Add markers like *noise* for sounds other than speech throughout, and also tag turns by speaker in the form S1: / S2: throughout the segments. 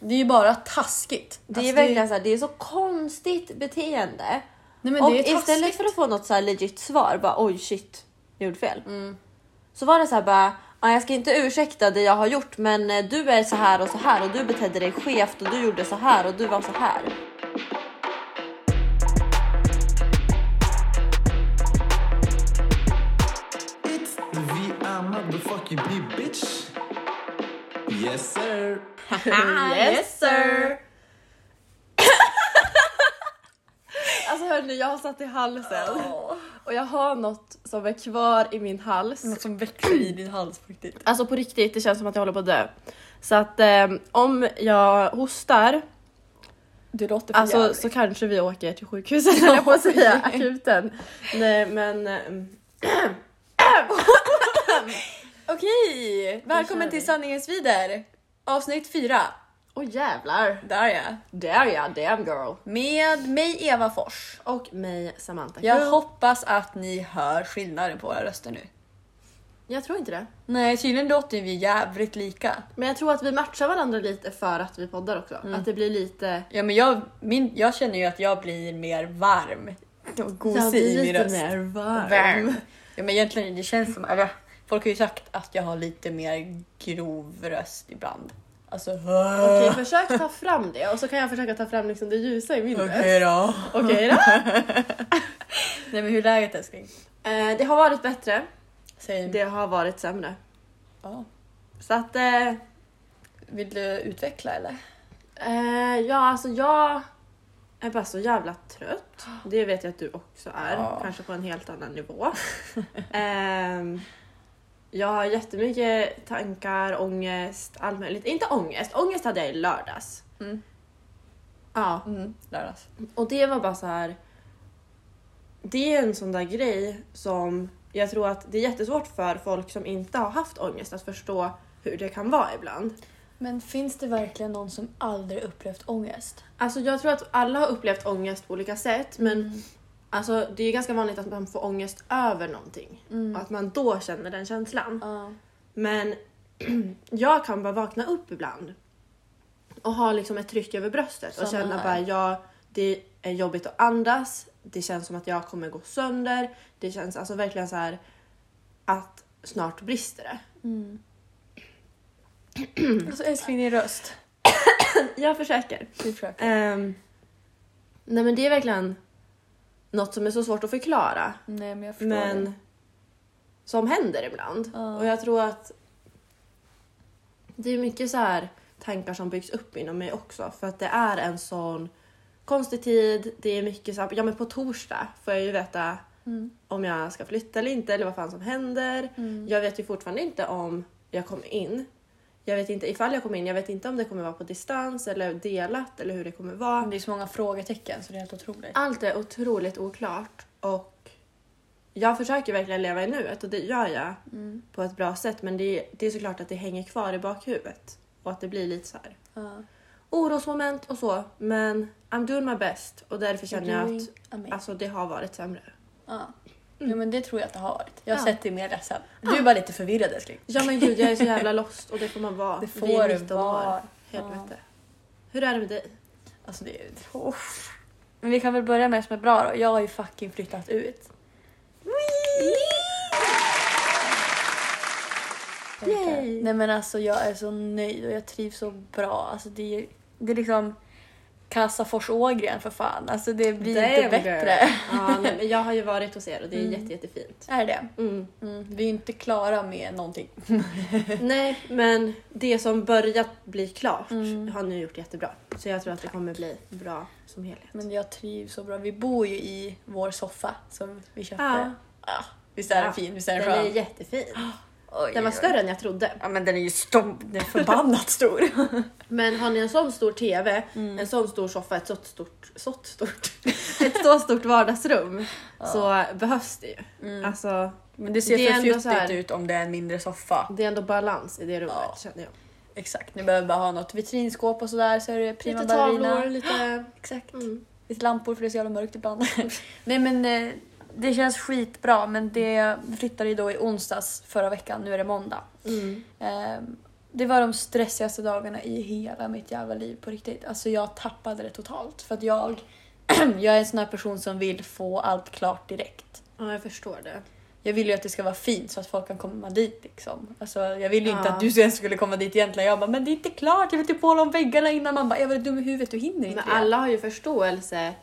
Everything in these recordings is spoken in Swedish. S1: Det är ju bara taskigt. Alltså,
S2: Det är verkligen så här, det är så konstigt beteende.
S1: Nej, men
S2: och
S1: det är taskigt.
S2: istället för att få något så här legit svar, bara oj shit, jag gjorde fel.
S1: Mm.
S2: Så var det så här bara, "Ja, jag ska inte ursäkta det jag har gjort men eh, du är så här och så här och du betedde dig skevt och du gjorde så här och du var så här.
S3: It's the VR motherfucking B, bitch. Yes, sir.
S2: Ah,
S4: Ah,
S2: yes *laughs* sir!
S1: Alltså hörni, jag har satt i halsen och jag har något som är kvar i min hals.
S4: Något som växer i din hals på riktigt.
S1: Mm, Alltså på riktigt, det känns som att jag håller på att dö. Så att eh, om jag hostar
S4: Det låter för
S1: Alltså
S4: jävligt.
S1: så kanske vi åker till sjukhuset höll jag på att *laughs* säga, akuten. Nej men... ehm,
S4: Okej!
S1: kör
S4: Välkommen till
S1: vi.
S4: sanningens vider! Avsnitt 4.
S1: Åh jävlar!
S4: Där ja.
S1: Där ja, damn girl!
S4: Med mig Eva Fors.
S1: Och mig Samantha
S4: Jag
S1: Krull.
S4: hoppas att ni hör skillnaden på våra röster nu.
S1: jag tror inte det.
S4: Nej, tydligen låter vi jävligt lika.
S1: Men jag tror att vi matchar varandra lite för att vi poddar också. Att det blir lite...
S4: Ja, men jag, min, jag känner ju att jag blir mer varm och
S1: Jag
S4: gosig
S1: blir
S4: i min
S1: lite
S4: röst.
S1: mer varm.
S4: Varm. Ja, men egentligen det känns som, eller, folk har ju sagt att jag har lite mer grov röst ibland. Alltså,
S1: Okej,
S4: okej
S1: försök ta fram det och så kan jag försöka ta fram liksom det ljusa i min röst.
S4: okay då.
S1: Okej då.
S4: Nej men hur är läget älskling?
S1: Eh, det har varit bättre.
S4: Säg,
S1: Det har varit sämre.
S4: Ja.
S1: Så att... Eh,
S4: vill du utveckla eller?
S1: Eh, ja, alltså jag är bara så jävla trött. Det vet jag att du också är.
S4: Ja.
S1: Kanske på en helt annan *laughs* nivå. Ehm, jag har jättemycket tankar, ångest, allt möjligt. Inte ångest, ångest hade jag i lördags.
S4: Mm.
S1: Ja,
S4: Mm, lördags.
S1: och det var bara så här. Det är en sån där grej som jag tror att det är jättesvårt för folk som inte har haft ångest att förstå hur det kan vara ibland.
S5: Men finns det verkligen någon som aldrig upplevt ångest?
S1: Alltså jag tror att alla har upplevt ångest på olika sätt men
S4: Mm.
S1: alltså, det är ganska vanligt att man får ångest över någonting
S4: Mm.
S1: och att man då känner den känslan.
S5: Ja.
S1: Men *clears throat* jag kan bara vakna upp ibland och ha liksom ett tryck över bröstet och
S5: Samma
S1: känna
S5: här.
S1: bara ja, det är jobbigt att andas, det känns som att jag kommer gå sönder, det känns alltså verkligen så här att snart brister det.
S4: Mm. Alltså älskling din röst.
S1: Jag försöker.
S4: Vi försöker.
S1: Ehm, nej men det är verkligen något som är så svårt att förklara.
S5: Nej men jag förstår
S1: men
S5: det.
S1: som händer ibland.
S5: Ja.
S1: Och jag tror att det är mycket så här tankar som byggs upp inom mig också för att det är en sån konstig tid. Det är mycket så här, ja men på torsdag får jag ju veta
S5: Mm.
S1: om jag ska flytta eller inte eller vad fan som händer. Jag vet ju fortfarande inte om jag kommer in. Jag vet inte ifall jag kommer in. Jag vet inte om det kommer vara på distans eller delat eller hur det kommer vara.
S4: Det är så många frågetecken så det är helt otroligt.
S1: Allt är otroligt oklart och jag försöker verkligen leva i nuet och det gör jag på ett bra sätt men det är, det är såklart att det hänger kvar i bakhuvudet och att det blir lite så här
S5: Ja.
S1: orosmoment och så men I'm doing my best och därför känner jag att
S5: Amazing.
S1: alltså, det har varit sämre.
S5: Ja.
S4: Ja, men det tror jag att det har varit. Jag har
S1: Ja.
S4: sett dig mer ledsen. Du är bara lite förvirrad älskling.
S1: Ja men gud jag är så jävla lost och det får man vara.
S4: Det
S1: Vi
S4: får
S1: är
S4: du
S1: 19
S4: vara.
S1: År. Helvete. Hur är det med dig?
S4: Alltså det är... Oh. Men vi kan väl börja med det som är bra då. Jag har ju fucking flyttat ut.
S1: Yay!
S4: Nej men alltså jag är så nöjd och jag trivs så bra. Alltså det är, det är liksom Kassafors Ågren för fan. Alltså det blir
S1: Damn,
S4: inte bättre.
S1: girl. Ja, nej, men jag har ju varit hos er och det är jätte, jättefint.
S4: Är det?
S1: Mm.
S4: Mm. Vi är inte klara med någonting.
S1: Nej, men det som börjat bli klart
S4: Mm.
S1: har ni gjort jättebra. Så jag tror att det kommer bli bra som helhet.
S4: Men jag trivs så bra. Vi bor ju i vår soffa som vi köpte.
S1: Ja.
S4: Ja, Visst är
S1: Ja.
S4: den fin? Visst är den
S1: den
S4: skön?
S1: är jättefin.
S4: Oj,
S1: Den var
S4: oj, oj.
S1: större än jag trodde.
S4: Ja men den är ju stor. Den är förbannat stor. *laughs*
S1: Men har ni en sån stor TV,
S4: Mm.
S1: en sån stor soffa, ett sånt stort, sånt stort, *laughs* ett så stort vardagsrum så behövs det ju.
S4: Mm.
S1: Alltså,
S4: Men det ser
S1: Det är
S4: för
S1: ändå så här-
S4: fjuttigt ut om det är en mindre soffa.
S1: det är ändå balans i det rummet
S4: Ja.
S1: känner jag.
S4: Exakt, ni behöver bara ha något vitrinskåp och sådär så är det prima
S1: Lite
S4: ballerina.
S1: tavlor, lite...
S4: *gasps* Exakt.
S1: Mm.
S4: Lite lampor för det är så jävla mörkt ibland. *laughs* Nej men eh, det känns skitbra men det jag flyttade ju då i onsdags förra veckan, nu är det måndag.
S1: Mm.
S4: Ehm, Det var de stressigaste dagarna i hela mitt jävla liv på riktigt. Alltså jag tappade det totalt för att jag, *clears throat* jag är en sån här person som vill få allt klart direkt.
S1: Ja, jag förstår det.
S4: Jag vill ju att det ska vara fint så att folk kan komma dit liksom. Alltså jag ville ju inte
S1: Ja.
S4: att du sen skulle komma dit egentligen. Jag bara, men det är inte klart, jag vill typ hålla om väggarna innan. Man bara, jag var dum i huvudet, du hinner inte
S1: Men
S4: det."
S1: alla har ju förståelse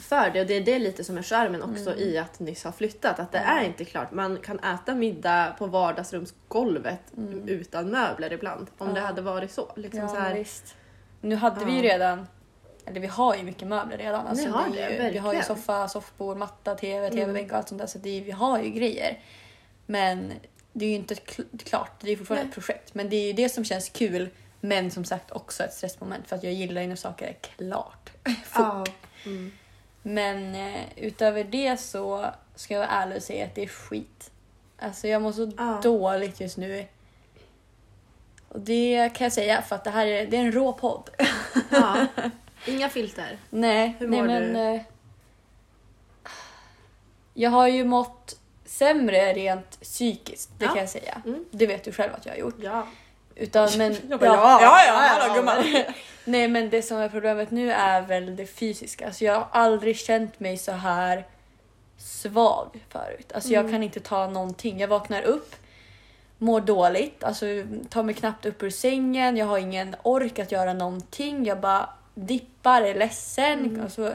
S1: för det och det är det lite som är charmen också
S4: Mm.
S1: i att nyss ha flyttat. Att det är inte klart. Man kan äta middag på vardagsrumsgolvet utan möbler ibland. Om det hade varit så. Liksom
S4: Mm. Ja,
S1: så här,
S4: visst. Nu hade vi ju redan, eller vi har ju mycket möbler redan. Alltså,
S1: har
S4: är
S1: det,
S4: ju, vi har ju
S1: verkligen. Mm.
S4: soffa, soffbord, matta, tv, tv-bänk och allt sånt där. Så det, är- vi har ju grejer. Men det är ju inte kl- klart, det är ju fortfarande ett projekt. Men det är ju det som känns kul. Men som sagt också ett stressmoment för att jag gillar ju när saker är klart.
S1: ja. mm.
S4: Men eh, utöver det så ska jag vara ärlig och säga att det är skit. Alltså jag mår så
S1: Ja.
S4: dåligt just nu. Och det kan jag säga för att det här är, det är en rå podd. *laughs*
S1: ja. Inga filter.
S4: Nej,
S1: Hur
S4: nej
S1: mår
S4: men...
S1: du?
S4: eh, Jag har ju mått sämre rent psykiskt, det
S1: Ja.
S4: kan jag säga.
S1: Mm.
S4: Det vet du själv att jag har gjort.
S1: Ja. *laughs*
S4: Utan, men,
S1: Jag bara, ja, ja,
S4: ja,
S1: ja,
S4: gumman. *laughs* Nej men det som är problemet nu är väl det fysiska. Alltså, jag har aldrig känt mig så här svag förut. Alltså,
S1: Mm.
S4: Jag kan inte ta någonting. Jag vaknar upp, mår dåligt, alltså, tar mig knappt upp ur sängen, jag har ingen ork att göra någonting. Jag bara dippar, är ledsen. Alltså,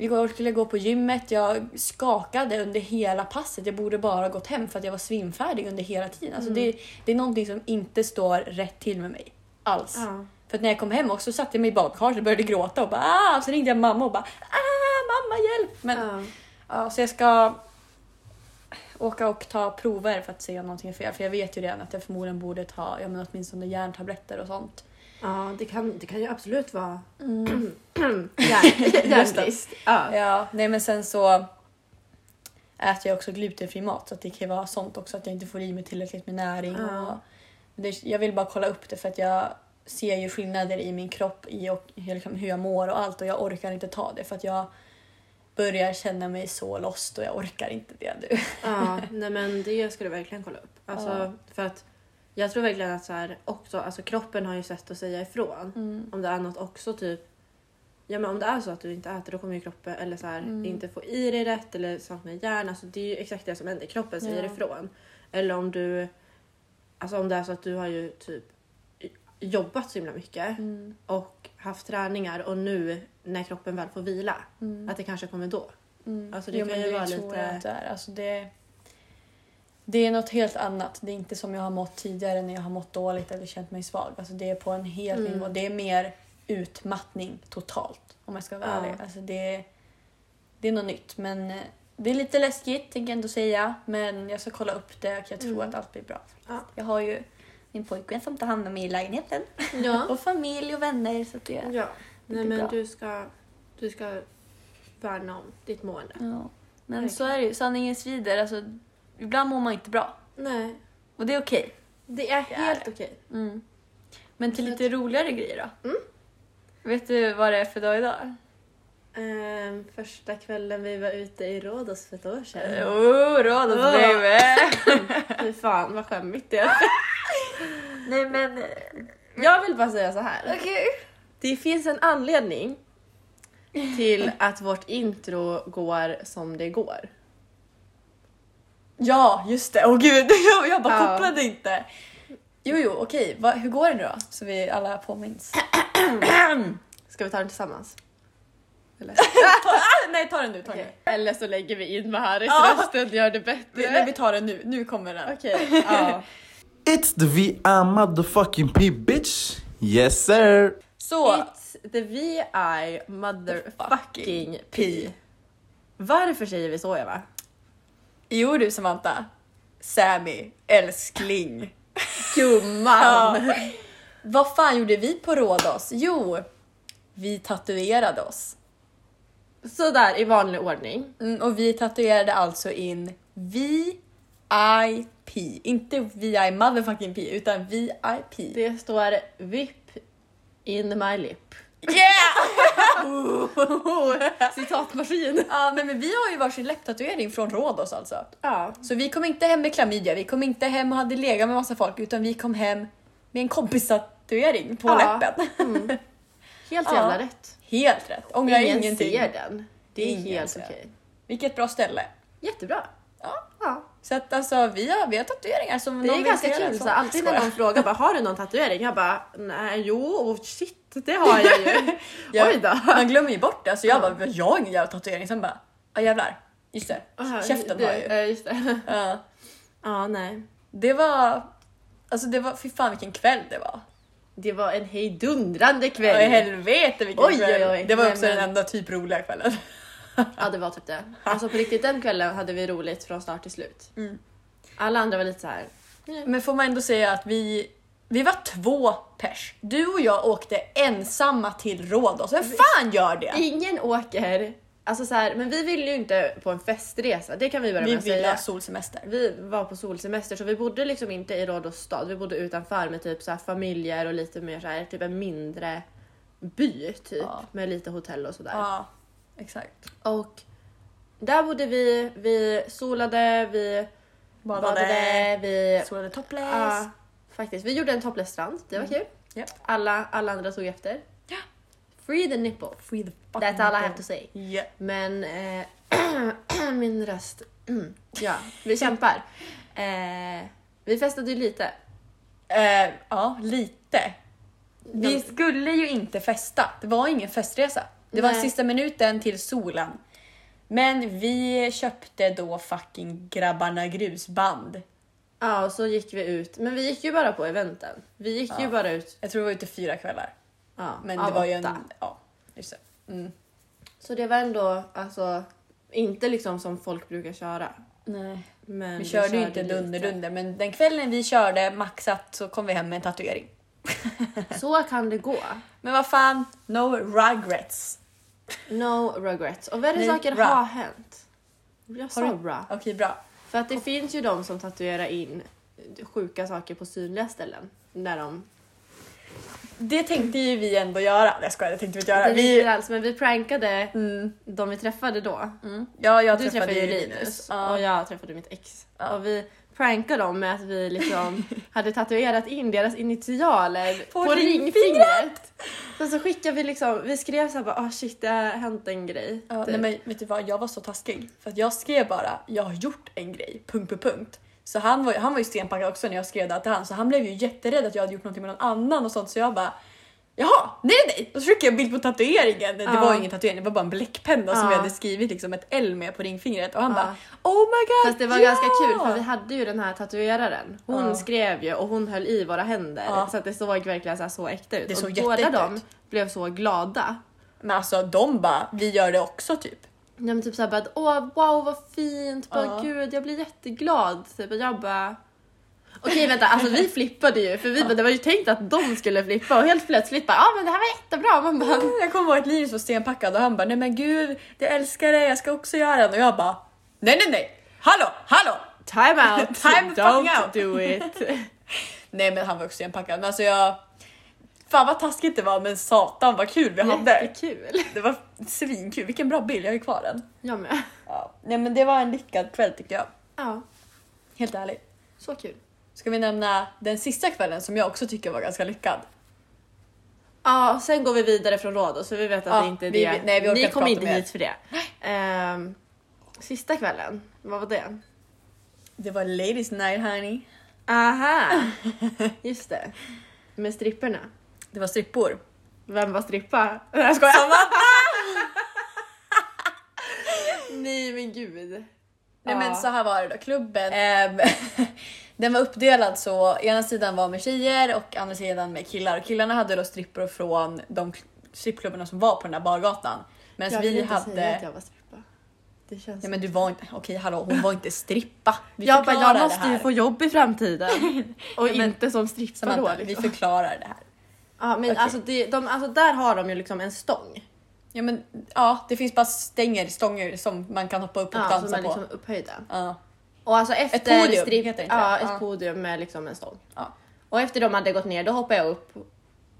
S4: Igår skulle jag gå på gymmet, jag skakade under hela passet. Jag borde bara ha gått hem för att jag var svimfärdig under hela tiden. Alltså det, det är någonting som inte står rätt till med mig. Alls.
S1: Ja.
S4: För att när jag kom hem också satte jag mig i badkaret och började gråta och bara ah! Så ringde jag mamma och bara ah, mamma hjälp! Men, ja.
S1: Ja.
S4: så jag ska åka och ta prover för att se om någonting är fel. För jag vet ju redan att jag förmodligen borde ta ja, men åtminstone järntabletter och sånt.
S1: Ja, det kan, det kan ju absolut vara
S4: Mm. *laughs*
S1: *clears throat* Järn- järnbrist. Ja.
S4: Ja, nej men sen så äter jag också glutenfri mat så att det kan ju vara sånt också att jag inte får i mig tillräckligt med näring. Och det, jag vill bara kolla upp det för att jag ser ju skillnader i min kropp i och, hur liksom hur jag mår och allt och jag orkar inte ta det för att jag börjar känna mig så lost och jag orkar inte det nu.
S1: Ja, *laughs* nej men det ska du verkligen kolla upp. Alltså, för att jag tror verkligen att så här, också, alltså, kroppen har ju sätt att säga ifrån. Om det är något också typ Ja men om det är så att du inte äter då kommer ju kroppen eller så här, inte få i dig rätt eller saknar järn. Alltså, det är ju exakt det som händer. Kroppen säger ifrån. Eller om du Alltså om det är så att du har ju typ jobbat så himla mycket och haft träningar och nu när kroppen väl får vila att det kanske kommer då. Alltså det
S4: Mm. Jo,
S1: kan
S4: men
S1: ju vara
S4: tror jag
S1: lite...
S4: att det är. Alltså det, det är något helt annat. Det är inte som jag har mått tidigare när jag har mått dåligt eller känt mig svag. Alltså det är på en helt
S1: Mm.
S4: nivå. Det är mer utmattning totalt om jag ska vara
S1: Ja.
S4: ärlig. Alltså det, det är något nytt. Men eh, det är lite läskigt tänker jag ändå säga. Men jag ska kolla upp det och jag tror att allt blir bra.
S1: Mm. Ja.
S4: Jag har ju min pojkvän som tar hand om mig i lägenheten.
S1: Ja.
S4: Och familj och vänner. Så att det,
S1: Ja, nej
S4: blir
S1: men
S4: bra.
S1: du ska, du ska värna om ditt mående.
S4: ja. Men så är det ju. Sanningen svider. Alltså, ibland mår man inte bra.
S1: Nej,
S4: Och det är okej.
S1: det är
S4: är
S1: helt okej.
S4: Men till lite roligare grejer då.
S1: Mm.
S4: Vet du vad det är för dag idag?
S1: Ehm, första kvällen vi var ute i Rhodos för ett år sedan.
S4: Oh, Rhodos
S1: Mm. Oh. *laughs*
S4: baby!
S1: Fy fan vad skämmigt *laughs* det är.
S4: Nej men...
S1: eh, Jag vill bara säga så här. Det finns en anledning *laughs* till att vårt intro går som det går.
S4: Ja, just det. Åh gud, *laughs* jag, jag bara
S1: Ja.
S4: kopplade inte. Jo, jo, okej. Va, hur går det nu då? Så vi alla
S1: *coughs*
S4: påminns.
S1: Ska vi ta den tillsammans? *laughs* Eller,
S4: Nej, ta den nu. Ta den
S1: Okej.
S4: nu.
S1: Eller så lägger vi in Maharis
S4: Ja.
S1: rösten, gör det
S4: Vi,
S1: bättre.
S4: nej, vi tar den nu. Nu kommer den.
S1: Okej, ja.
S3: It's the VR motherfucking P bitch. Yes sir.
S4: Så.
S1: It's the VI motherfucking P. Varför säger vi så Eva?
S4: Jo du Samantha. Sammy, älskling.
S1: Gumman!
S4: Ja. Vad fan gjorde vi på Rhodos? Jo, vi tatuerade oss.
S1: *laughs* Sådär i vanlig ordning.
S4: Mm, och vi tatuerade alltså in VIP. Inte VI motherfucking P utan VIP.
S1: Det står VIP in my
S4: *laughs*
S1: lip.
S4: Yeah!
S1: Citatmaskin!
S4: ja, nej, men vi har ju varsin läpptatuering från Rhodos alltså.
S1: Ja.
S4: Så vi kom inte hem med klamydia, vi kom inte hem och hade legat med massa folk utan vi kom hem med en kompistatuering på
S1: Ja.
S4: läppen.
S1: Helt
S4: Ja.
S1: jävla rätt.
S4: *laughs* Helt rätt. Ångrar
S1: Ingen
S4: ingenting.
S1: ser den. Det är
S4: Ingen
S1: helt
S4: ser.
S1: okej.
S4: Vilket bra ställe.
S1: Jättebra.
S4: Ja.
S1: ja.
S4: Så att alltså vi har, vi har tatueringar som
S1: Det är
S4: någon
S1: ganska
S4: vill se liksom.
S1: kul.
S4: den
S1: Så
S4: som.
S1: alltid när
S4: Skojar.
S1: någon frågar bara, har du någon tatuering? Jag bara nej, jo, oh, shit, det har jag
S4: *laughs*
S1: ju.
S4: Jag-
S1: Oj då.
S4: Man glömmer ju bort det. Alltså jag
S1: Ja.
S4: bara, jag har ingen jävla tatuering. Sen bara, ja jävlar. Just det, käften har jag ju.
S1: Ja, just det.
S4: Ja.
S1: Ja, nej.
S4: Det var, alltså det var, fy fan vilken kväll det var.
S1: Det var en hejdundrande
S4: Ja, i
S1: kväll.
S4: helvete vilken
S1: Oj,
S4: kväll.
S1: oj, oj.
S4: Det var
S1: Nej,
S4: också
S1: men-
S4: den enda typ roliga kvällen.
S1: Ja, det var typ det. Alltså på riktigt, den kvällen hade vi roligt från start till slut.
S4: Mm.
S1: Alla andra var lite så här.
S4: Men får man ändå säga att vi, vi var två pers. Du och jag åkte ensamma till Rhodos. Vem fan gör det?
S1: Ingen åker. Alltså så här, men vi ville ju inte på en festresa, det kan vi börja
S4: Vi
S1: med att
S4: ville ha
S1: säga.
S4: solsemester.
S1: Vi var på solsemester så vi bodde liksom inte i Rhodos stad, vi bodde utanför med typ så här familjer och lite mer så här, typ en mindre by typ
S4: Ja.
S1: med lite hotell och sådär.
S4: Ja, exakt.
S1: Och där bodde vi, vi solade, vi badade, vi...
S4: Solade topless.
S1: Ja, faktiskt. Vi gjorde en topless strand, det var kul.
S4: Mm. Japp.
S1: Alla, alla andra tog efter.
S4: Ja.
S1: Free the nipple.
S4: Free the fucking
S1: That's all I have
S4: nipple.
S1: to say.
S4: Ja.
S1: Men eh, *clears throat* min röst. Mm. ja, vi kämpar. Eh, vi festade ju lite.
S4: Eh, ja, lite. Vi skulle ju inte festa. Det var ingen festresa. Det var
S1: Nej.
S4: sista minuten till solen. Men vi köpte då fucking Grabbarna Grusband.
S1: Ja, och så gick vi ut. Men vi gick ju bara på eventen. Vi gick ju bara ut
S4: Jag tror vi var ute fyra kvällar.
S1: ja,
S4: Men
S1: av
S4: det var ju
S1: åtta.
S4: en... Ja, just det. Mm.
S1: Så det var ändå alltså, inte liksom som folk brukar köra.
S4: Nej.
S1: Men
S4: Vi körde ju inte
S1: lite.
S4: dunder-dunder, men den kvällen vi körde maxat så kom vi hem med en tatuering.
S1: Så kan det gå.
S4: Men vad fan, no regrets.
S1: No regrets. Och värre
S4: Nej,
S1: saker
S4: bra.
S1: har hänt. Jag sa
S4: du-
S1: bra.
S4: Okej, bra.
S1: För att det finns ju de som tatuerar in sjuka saker på synliga ställen. När de
S4: Det tänkte ju vi ändå göra. Nej, Jag skojar, det tänkte vi inte göra.
S1: Det
S4: Vi,
S1: vi... alls, men vi prankade
S4: mm,
S1: de vi träffade då.
S4: ja, jag
S1: du träffade ju Linus och
S4: Ja.
S1: jag träffade mitt ex.
S4: Ja.
S1: Och vi prankade dem med att
S4: *laughs*
S1: vi liksom hade tatuerat in deras initialer på,
S4: På
S1: ringfingret. Sen så skickade vi liksom, vi skrev såhär bara ah shit det har hänt en grej.
S4: Ja,
S1: typ.
S4: nej, men vet du vad, jag var så taskig. För att jag skrev bara “jag har gjort en grej”, punkt, punkt, punkt. Så han var, ju- han var ju stenpackad också när jag skrev det här till han så han blev ju jätterädd att jag hade gjort någonting med någon annan och sånt så jag bara “jaha, nej nej”. Och så skickade jag en bild på tatueringen. Det
S1: Ja.
S4: var ju ingen tatuering, det var bara en bläckpenna som
S1: Ja.
S4: jag hade skrivit liksom ett L med på ringfingret och han
S1: Ja.
S4: bara “oh my god,
S1: Fast det var
S4: ja!"
S1: ganska kul för vi hade ju den här tatueraren. Hon
S4: Ja.
S1: skrev ju och hon höll i våra händer
S4: Ja.
S1: så att det såg verkligen så, här så äkta ut.
S4: Det
S1: och
S4: såg
S1: båda
S4: jätteäkta
S1: de
S4: ut.
S1: blev så glada.
S4: Men alltså de bara “vi gör det också” typ.
S1: Ja men typ såhär bara att, åh wow vad fint, bara
S4: Ja.
S1: gud jag blir jätteglad. Typ. Och jag bara Okej vänta,
S4: *laughs*
S1: alltså vi flippade ju för vi bara, det var ju tänkt att de skulle flippa och helt plötsligt bara ja ah, men det här var jättebra. Man bara,
S4: Jag kommer ihåg att Linus var stenpackad och han bara “nej men gud, jag älskar det, jag ska också göra den” och jag bara “nej nej nej, hallå, hallå!”
S1: time
S4: *laughs*
S1: out,
S4: Time the fucking
S1: don't
S4: out.
S1: do it.
S4: Nej men han var också packad. Men alltså jag... Fan vad taskigt det var men satan vad kul vi hade.
S1: *laughs* Jättekul.
S4: Det var svinkul, vilken bra bild, jag har ju kvar den.
S1: Jag med.
S4: Ja. Nej men det var en lyckad kväll tycker jag.
S1: Ja,
S4: Helt ärligt.
S1: så kul.
S4: Ska vi nämna den sista kvällen som jag också tycker var ganska lyckad?
S1: Ja, och sen går vi vidare från Rhodos för vi vet att
S4: Ja,
S1: det inte är
S4: vi-
S1: det.
S4: nej, vi orkar
S1: Ni
S4: inte
S1: kom
S4: prata
S1: inte
S4: mer.
S1: hit för det. Ehm, sista kvällen, vad var det?
S4: Det var ladies night honey.
S1: Aha! *laughs* Just det. Med stripporna.
S4: Det var strippor.
S1: Vem var strippa? Nej *laughs* jag skojar.
S4: Samantha!
S1: Nej men gud.
S4: Nej
S1: Ja.
S4: men så här var det då, klubben. ehm, *laughs* den var uppdelad så ena sidan var med tjejer och andra sidan med killar. Och killarna hade då strippor från de k- strippklubbarna som var på den där bargatan. Medan
S1: jag
S4: Alltså, vi
S1: inte
S4: hade...
S1: säga att jag var strippa. Det känns...
S4: Nej men du var inte, okej hallå hon var inte strippa. Vi
S1: jag bara, jag
S4: förklarar det
S1: måste ju
S4: här.
S1: få jobb
S4: *laughs*
S1: i framtiden. Och
S4: men-
S1: inte som strippa
S4: Samantha,
S1: då.
S4: vi
S1: Liksom.
S4: förklarar det här.
S1: Ja, men
S4: Okej.
S1: alltså, det, de, alltså där har de ju liksom en stång.
S4: Ja men ja, det finns bara stänger, stånger som man kan hoppa upp och
S1: Ja, som
S4: dansa
S1: är
S4: på.
S1: liksom upphöjda.
S4: Ja.
S1: Och alltså efter
S4: podium
S1: stripp-
S4: heter det inte
S1: ja,
S4: det?
S1: ett
S4: Ja.
S1: podium med liksom en stång.
S4: Ja.
S1: Och efter de hade gått ner då hoppade jag upp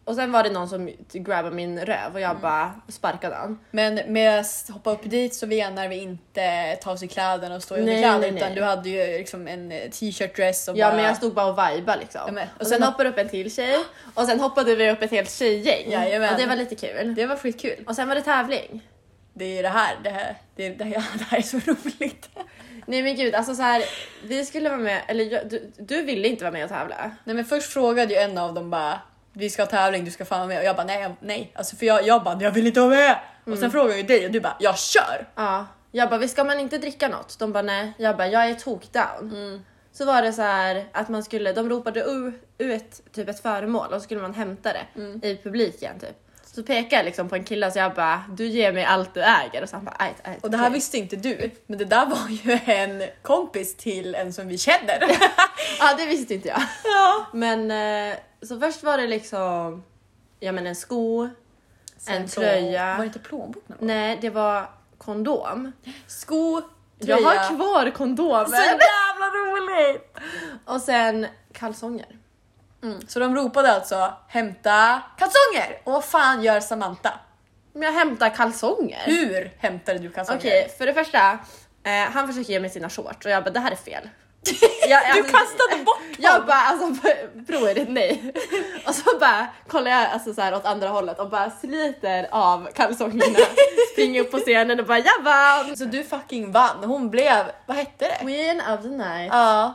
S1: Och sen var det någon som grabbade min röv och jag bara sparkade han.
S4: Men med att hoppa upp dit så menar vi inte ta av sig kläderna och stå i
S1: Nej,
S4: underkläder
S1: nej, nej.
S4: utan du hade ju liksom en eh, t-shirt dress och
S1: Ja
S4: bara...
S1: men jag stod bara och vibade liksom.
S4: Ja, men-
S1: och, sen hoppade upp en till tjej och sen hoppade vi upp ett helt tjejgäng.
S4: Jajamän.
S1: Och det var lite kul.
S4: Det var skitkul.
S1: Och sen var det tävling.
S4: Det är ju det här, det här, det, är- det här, *laughs* det här är så roligt.
S1: Nej men gud alltså så här, vi skulle vara med, eller jag, du, du ville inte vara med och tävla.
S4: Nej men först frågade ju en av dem bara vi ska ha tävling, du ska fan vara med och jag bara nej, jag- nej. Alltså för jag, jag bara jag vill inte vara med. Och
S1: Mm.
S4: sen frågade ju dig och du bara jag kör.
S1: Ja. Jag bara, "Vi- ska man inte dricka något? De bara nej. Jag bara, jag är tokdown.
S4: Mm.
S1: Så var det så här att man skulle, de ropade u- ut typ ett föremål och så skulle man hämta det
S4: Mm.
S1: i publiken typ. Så pekade jag liksom på en kille så jag bara, du ger mig allt du äger och så han bara, ajt, ajt,
S4: Och det här
S1: okej."
S4: visste inte du, men det där var ju *laughs* en kompis till en som vi
S1: *laughs*
S4: känner.
S1: Ja det visste inte jag. Men eh, så först var det liksom, ja men en sko, en
S4: Så-
S1: tröja.
S4: Var det inte plånbok någon gång?
S1: Nej det var kondom.
S4: Sko,
S1: Jag
S4: tröja.
S1: har kvar kondomen.
S4: Så jävla roligt!
S1: Och sen kalsonger.
S4: Så de ropade alltså hämta kalsonger! Och vad fan gör Samantha?
S1: Men jag hämtar kalsonger.
S4: Hur hämtade du kalsonger?
S1: Okej, för det första. Eh, han försöker ge mig sina shorts och jag bara det här är *laughs* fel. Jag,
S4: Du kastade bort dem!
S1: Jag bara alltså *laughs* p- provar det nej. *laughs* Och så bara kollar jag alltså så här åt andra hållet och bara sliter av *laughs* kalsongerna. Springer upp på scenen och bara jag vann!
S4: Så du fucking vann. Hon blev, vad hette det?
S1: Queen of the night.
S4: Ja,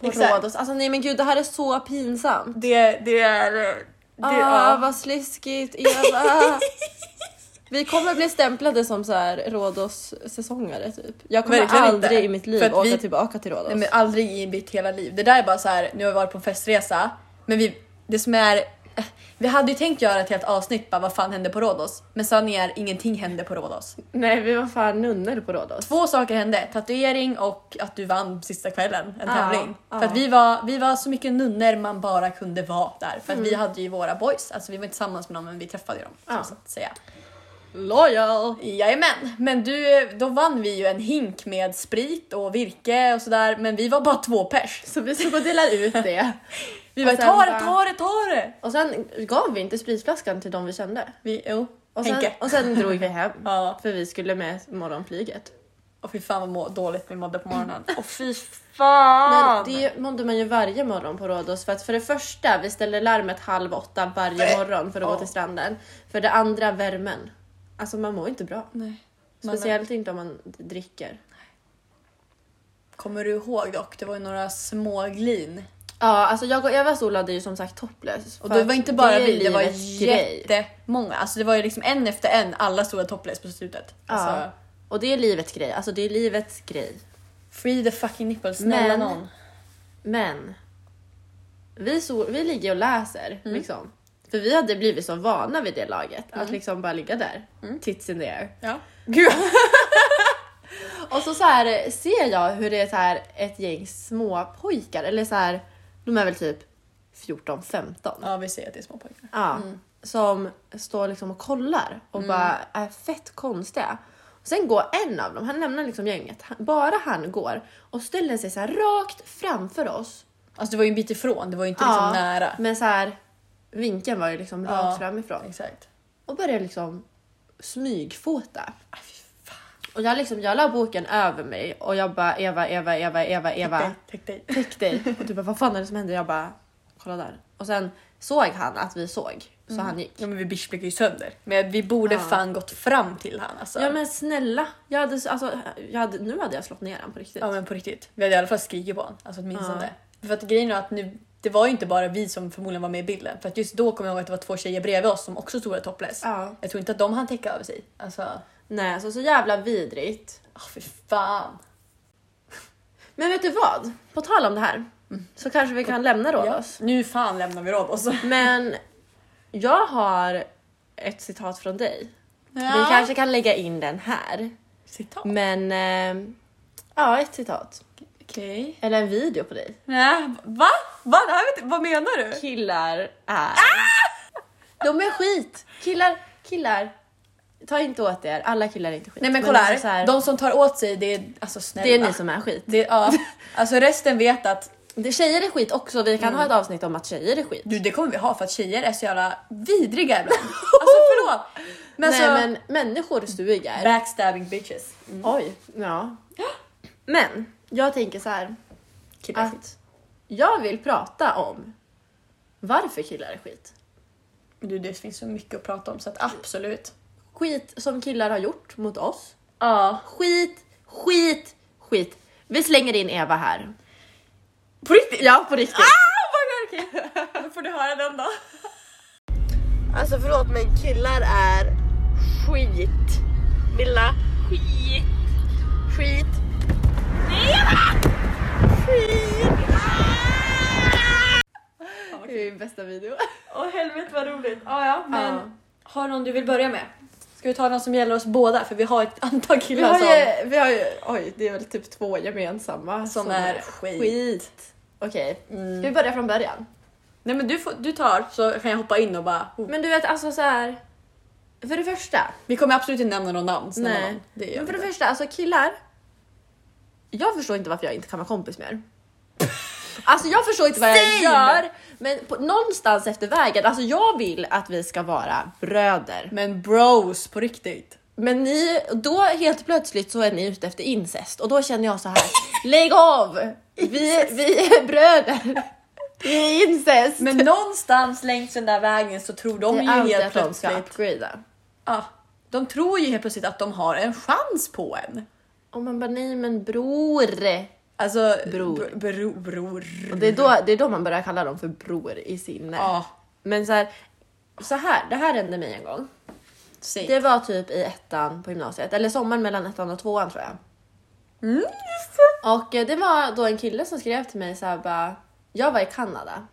S1: på
S4: exakt.
S1: Rhodos. Alltså nej men gud det här är så pinsamt.
S4: det, det är... Det,
S1: ah,
S4: ja.
S1: vad sliskigt *laughs* Eva. Vi kommer bli stämplade som så här Rhodos säsongare typ. Jag kommer
S4: Verkligen inte.
S1: aldrig i mitt liv
S4: För att
S1: åka
S4: vi-
S1: tillbaka till Rhodos.
S4: Nej, men aldrig i mitt hela liv. Det där är bara så här, nu har vi varit på en festresa, men vi, det som är... eh, Vi hade ju tänkt göra ett helt avsnitt bara vad fan hände på Rhodos? Men sanningen är ingenting hände på Rhodos.
S1: Nej vi var fan nunnor på Rhodos.
S4: Två saker hände, tatuering och att du vann sista kvällen, en
S1: Ja,
S4: tävling.
S1: ja.
S4: För att vi var, vi var så mycket nunnor man bara kunde vara där. För att vi hade ju våra boys, alltså vi var inte tillsammans med dem men vi träffade ju dem.
S1: Mm. Ja.
S4: Så att säga.
S1: Loyal!
S4: Jajamän, men du, då vann vi ju en hink med sprit och virke och sådär men vi var bara två pers.
S1: Så vi stod och delade ut det.
S4: *laughs* Vi
S1: Och
S4: bara
S1: sen
S4: ta det,
S1: bara-
S4: ta det, ta det!
S1: Och sen gav vi inte spritflaskan till de vi kände.
S4: Vi, jo,
S1: Och sen,
S4: Henke.
S1: och sen drog vi hem.
S4: *laughs* Ja,
S1: För vi skulle med morgonflyget.
S4: och fy fan vad må, dåligt vi mådde på
S1: *laughs*
S4: morgonen.
S6: Åh fy fan!
S1: Men det mådde man ju varje morgon på Rhodos för att för det första, vi ställde larmet halv åtta varje morgon för att gå till stranden. För det andra, värmen. Alltså man mår inte bra.
S4: Nej. Man-
S1: Speciellt inte om man dricker.
S4: eh, Kommer du ihåg dock, det var ju några småglin.
S1: Ja, alltså jag och Eva solade ju som sagt topless.
S4: Och
S1: för
S4: det
S1: att
S4: var inte bara
S1: är
S4: vi, det var
S1: livets grej.
S4: jättemånga. Alltså det var ju liksom en efter en, alla stora topless på slutet. Alltså,
S1: Och det är livets grej, alltså det är livets grej.
S4: free the fucking nipples, snälla
S1: Men-
S4: någon.
S1: Men vi, so- vi ligger och läser liksom. För vi hade blivit så vana vid det laget att liksom bara ligga där. Tits in the air.
S4: Ja.
S1: *laughs* Och så, så här, ser jag hur det är så här ett gäng små pojkar eller så här, de är väl typ 14-15. Ja.
S4: ja, vi ser att det är små pojkar.
S1: Som står liksom och kollar och
S4: Mm.
S1: bara är fett konstiga. Och sen går en av dem, han lämnar liksom gänget, han, bara han går och ställer sig så här rakt framför oss.
S4: Alltså det var ju en bit ifrån, det var ju inte liksom nära.
S1: Men så här, vinkeln var ju liksom rakt framifrån.
S4: Exakt.
S1: Och började liksom smygfota.
S4: Ah,
S1: Och jag, liksom, jag la boken över mig och jag bara Eva, Eva, Eva, Eva, Eva.
S4: Täck dig.
S1: Täck dig. Och du bara vad fan är det som händer? Jag bara kolla där. Och sen såg han att vi såg så
S4: Mm.
S1: han gick.
S4: Ja men vi bitchblickade ju sönder. Men vi borde
S1: Ja.
S4: fan gått fram till han alltså.
S1: Ja men snälla. Jag hade, s- alltså, jag hade, nu hade jag slått ner honom på riktigt.
S4: Ja, men på riktigt. Vi hade i alla fall skrikit på honom. Alltså åtminstone. För att grejen är att nu, det var ju inte bara vi som förmodligen var med i bilden. För att just då kommer jag ihåg att det var två tjejer bredvid oss som också stod där topless.
S1: Ja.
S4: Jag tror inte att de hann täcka över sig. Alltså,
S1: Nej så, så jävla vidrigt.
S4: oh, fy fan.
S1: Men vet du vad? På tal om det här så kanske vi kan lämna Rhodos.
S4: Ja, nu fan lämnar vi Rhodos.
S1: Men jag har ett citat från dig. Vi kanske kan lägga in den här.
S4: Citat.
S1: Men eh, ja, ett citat.
S4: Okej.
S1: Eller en video på dig.
S4: Nej, va? va? Det här vet jag- vad menar du?
S1: Killar är... De är skit! Killar, killar. Ta inte åt er, alla killar är inte skit.
S4: Nej men
S1: Men
S4: kolla
S1: alltså
S4: här.
S1: så här,
S4: De som tar åt sig det är alltså snälla. *laughs*
S1: Det är ni som är skit.
S4: Det, ja. Alltså resten vet att
S1: Det, tjejer är skit också. Vi kan ha ett avsnitt om att tjejer är skit.
S4: Du det kommer vi ha för att tjejer är så jävla vidriga ibland. *laughs* Alltså förlåt! Men
S1: Nej
S4: alltså,
S1: men människor suger.
S4: backstabbing bitches.
S1: Oj. Ja. Mm. Men jag tänker så här
S4: Killar är skit.
S1: att jag vill prata om varför killar är skit.
S4: Du det finns så mycket att prata om så att absolut.
S1: Skit som killar har gjort mot oss.
S4: Ja.
S1: Skit, skit, skit. Vi slänger in Eva här.
S4: På riktigt?
S1: Ja, på riktigt.
S4: Då får du höra den då.
S6: Alltså förlåt men killar är skit. Milla. Skit. Skit.
S1: Det är ju bästa video.
S4: Åh helvete vad roligt. Ja ja men
S1: Ja.
S4: har någon du vill börja med? Ska vi ta någon som gäller oss båda för vi har ett antal
S1: Vi
S4: killar
S1: har,
S4: som...
S1: ju, Alltså, vi har ju, oj det är väl typ två gemensamma
S4: Som är skit.
S1: skit. Mm. Okej, ska vi börja från början?
S4: Nej men du, får, du tar så kan jag hoppa in och bara... Oh.
S1: Men du vet alltså så här. För det första,
S4: Vi kommer absolut inte nämna någon namn. snälla
S1: Nej.
S4: nån. Det gör vi
S1: men för det
S4: inte.
S1: första alltså killar. Jag förstår inte varför jag inte kan vara kompis med
S4: *laughs*
S1: er. Alltså jag förstår inte vad jag
S4: Same!
S1: gör, men på, någonstans efter vägen, alltså jag vill att vi ska vara bröder.
S4: men bros på riktigt.
S1: Men ni, då helt plötsligt så är ni ute efter incest och då känner jag
S4: *laughs*
S1: så här. lägg av! Vi, vi är bröder. Vi är incest.
S4: Men någonstans längs den där vägen så tror de
S1: det
S4: ju
S1: är alltid
S4: helt
S1: att de ska
S4: plötsligt...
S1: upgrada.
S4: Ja, de tror ju helt plötsligt att de har en chans på en.
S1: Och man bara nej men bror.
S4: Alltså...
S1: Bror.
S4: br- Bro, bror.
S1: Och det, är då, det är då man börjar kalla dem för bror i sinne.
S4: Mm. Ja,
S1: Men så här, så här, det här hände mig en gång.
S4: säg.
S1: Det var typ i ettan på gymnasiet, eller sommaren mellan ettan och tvåan tror jag.
S4: Mm,
S1: Och eh, det var då en kille som skrev till mig så här bara, jag var i Kanada.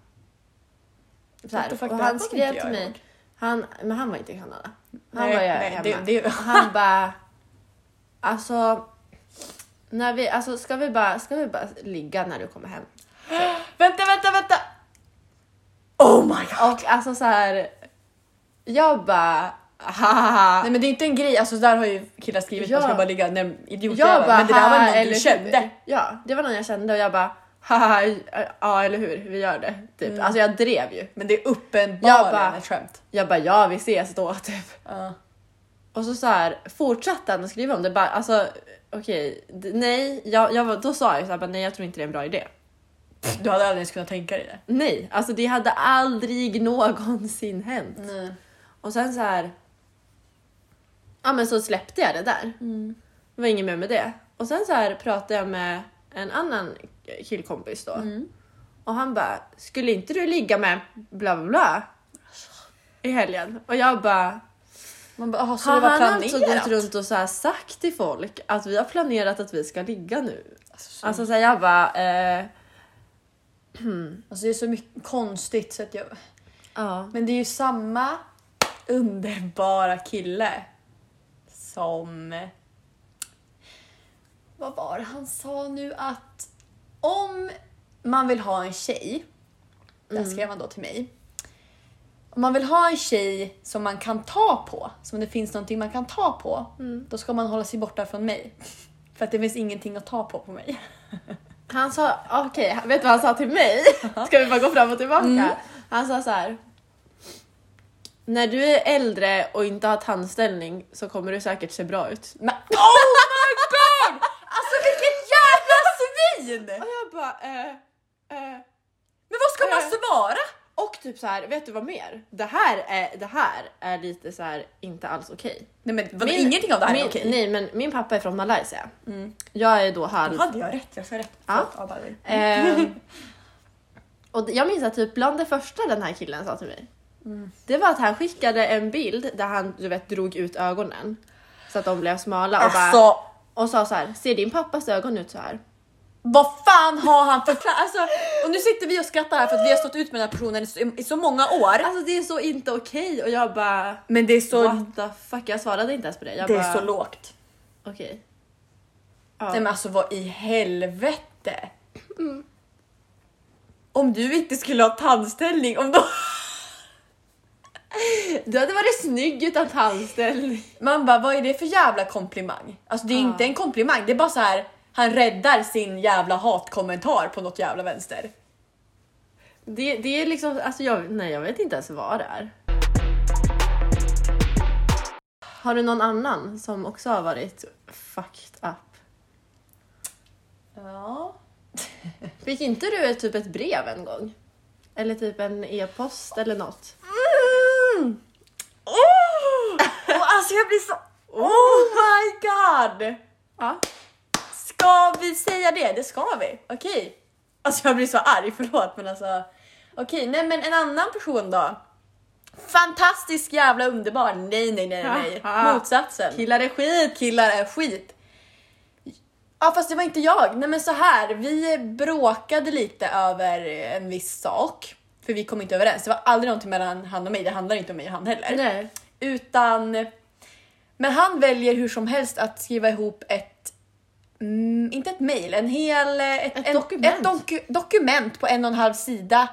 S1: Så
S4: What
S1: här,
S4: the fuck,
S1: och
S4: det här
S1: han
S4: kommer
S1: skrev
S4: inte
S1: till
S4: jag
S1: mig,
S4: ihåg.
S1: han, men han var inte i Kanada. Han
S4: Nej,
S1: var ju
S4: nej,
S1: hemma.
S4: det- det-
S1: Han *laughs* bara, alltså, när vi, alltså ska, vi bara, ska vi bara ligga när du kommer hem?
S4: Vänta, vänta, vänta! Oh my god!
S1: Och alltså så här, jag bara, hahaha.
S4: Nej men det är inte en grej, alltså där har ju killar skrivit
S1: Ah. Ja.
S4: att man ska bara ligga när
S1: Jag
S4: idiotjävel.
S1: bara,
S4: Men det där var
S1: "Ha,
S4: någon
S1: eller
S4: du
S1: hur?"
S4: kände.
S1: Ja, det var någon jag kände och jag bara haha, ja eller hur, vi gör det. Typ.
S4: Mm.
S1: Alltså jag drev ju.
S4: Men det är
S1: Jag
S4: uppenbarligen
S1: bara-
S4: ett skämt.
S1: Jag bara ja vi ses då *laughs* typ.
S4: Ja.
S1: Och så, så här, fortsatte han att skriva om det. Bara, alltså okej, d- nej, jag, jag, var- då sa jag så här, bara, nej jag tror inte det är en bra idé.
S4: Du hade aldrig ens kunnat tänka dig det.
S1: Nej, alltså det hade aldrig *laughs* någonsin hänt.
S4: Nej.
S1: Och sen så här. Ja men så släppte jag det där. Det var inget mer med det. Och sen så här pratade jag med en annan killkompis då. Och han bara, skulle inte du ligga med bla bla bla? I helgen. Och jag bara,
S4: Man bara, aha, så
S1: har
S4: det var
S1: han alltså
S4: planerat?
S1: gått runt och så här sagt till folk att vi har planerat att vi ska ligga nu?
S4: Alltså, så-
S1: Alltså så här, jag bara, eh,
S4: Alltså det är så mycket konstigt så att jag...
S1: ja.
S4: Men det är ju samma underbara kille som... Vad var det han sa nu att om man vill ha en tjej, det här skrev han då till mig. Om man vill ha en tjej som man kan ta på, som det finns någonting man kan ta på, då ska man hålla sig borta från mig. *laughs* För att det finns ingenting att ta på på mig.
S1: Han sa, okej, vet du vad han sa till
S4: *laughs*
S1: mig? Ska vi bara gå fram och tillbaka?
S4: Mm.
S1: Han sa så här. När du är äldre och inte har tandställning så kommer du säkert se bra ut.
S4: Men, *laughs* oh my god! Alltså vilken jävla svin!
S1: Och jag bara, eh, eh.
S4: Men vad ska man
S1: Eh.
S4: svara?
S1: Och typ så här, vet du vad mer? Det här är, det här är lite så här inte alls okej.
S4: Nej men vadå,
S1: Min-
S4: ingenting av det här
S1: min-
S4: är okej. Mm.
S1: Nej men min pappa är från Malaysia. Jag är då halv
S4: Hade jag rätt? Jag sa rätt.
S1: Ja.
S4: Förlåt, Abba.
S1: Ehm, *laughs* och det- jag minns att typ bland det första den här killen sa till mig, det var att han skickade en bild där han du vet, drog ut ögonen så att de blev smala och, bara,
S4: Alltså
S1: och sa så här, ser din pappas ögon ut så här?
S4: vad fan har han för kla- alltså, Och nu sitter vi och skrattar här för att vi har stått ut med den här personen i så, i så många år.
S1: Alltså det är så inte okej och jag bara
S4: Men det är så,
S1: what the fuck, jag svarade inte ens på det. Jag
S4: det
S1: bara
S4: är så lågt.
S1: okej.
S4: Nej men alltså vad i helvete? Mm. Om du inte skulle ha tandställning, om då...
S1: Du hade varit snygg utan tandställning.
S4: Man bara, vad är det för jävla komplimang? Alltså det är inte en komplimang, det är bara så här. Han räddar sin jävla hatkommentar på något jävla vänster.
S1: Det, det är liksom, alltså jag, nej jag vet inte ens vad det är. Har du någon annan som också har varit fucked up?
S4: Ja.
S1: Fick inte du ett- typ ett brev en gång? Eller typ en e-post eller något?
S4: Mm. Oh! Och alltså jag blir så... Oh my god!
S1: Ja.
S4: Ska vi säga det? Det ska vi. Okej. Alltså jag blir så arg, förlåt men alltså. Okej, nej men en annan person då. Fantastisk jävla underbar. Nej, nej, nej,
S1: *laughs*
S4: nej.
S1: Haha.
S4: Motsatsen.
S1: Killar är skit!
S4: Killar är skit. Ja fast det var inte jag. Nej men så här, vi bråkade lite över en viss sak. För vi kom inte överens. Det var aldrig någonting mellan han och mig. Det handlar inte om mig och han heller.
S1: Nej.
S4: Utan... Men han väljer hur som helst att skriva ihop ett... Mm, inte ett mejl, en hel... eh, Ett, en,
S1: dokument.
S4: Ett doku, dokument på en och en halv sida.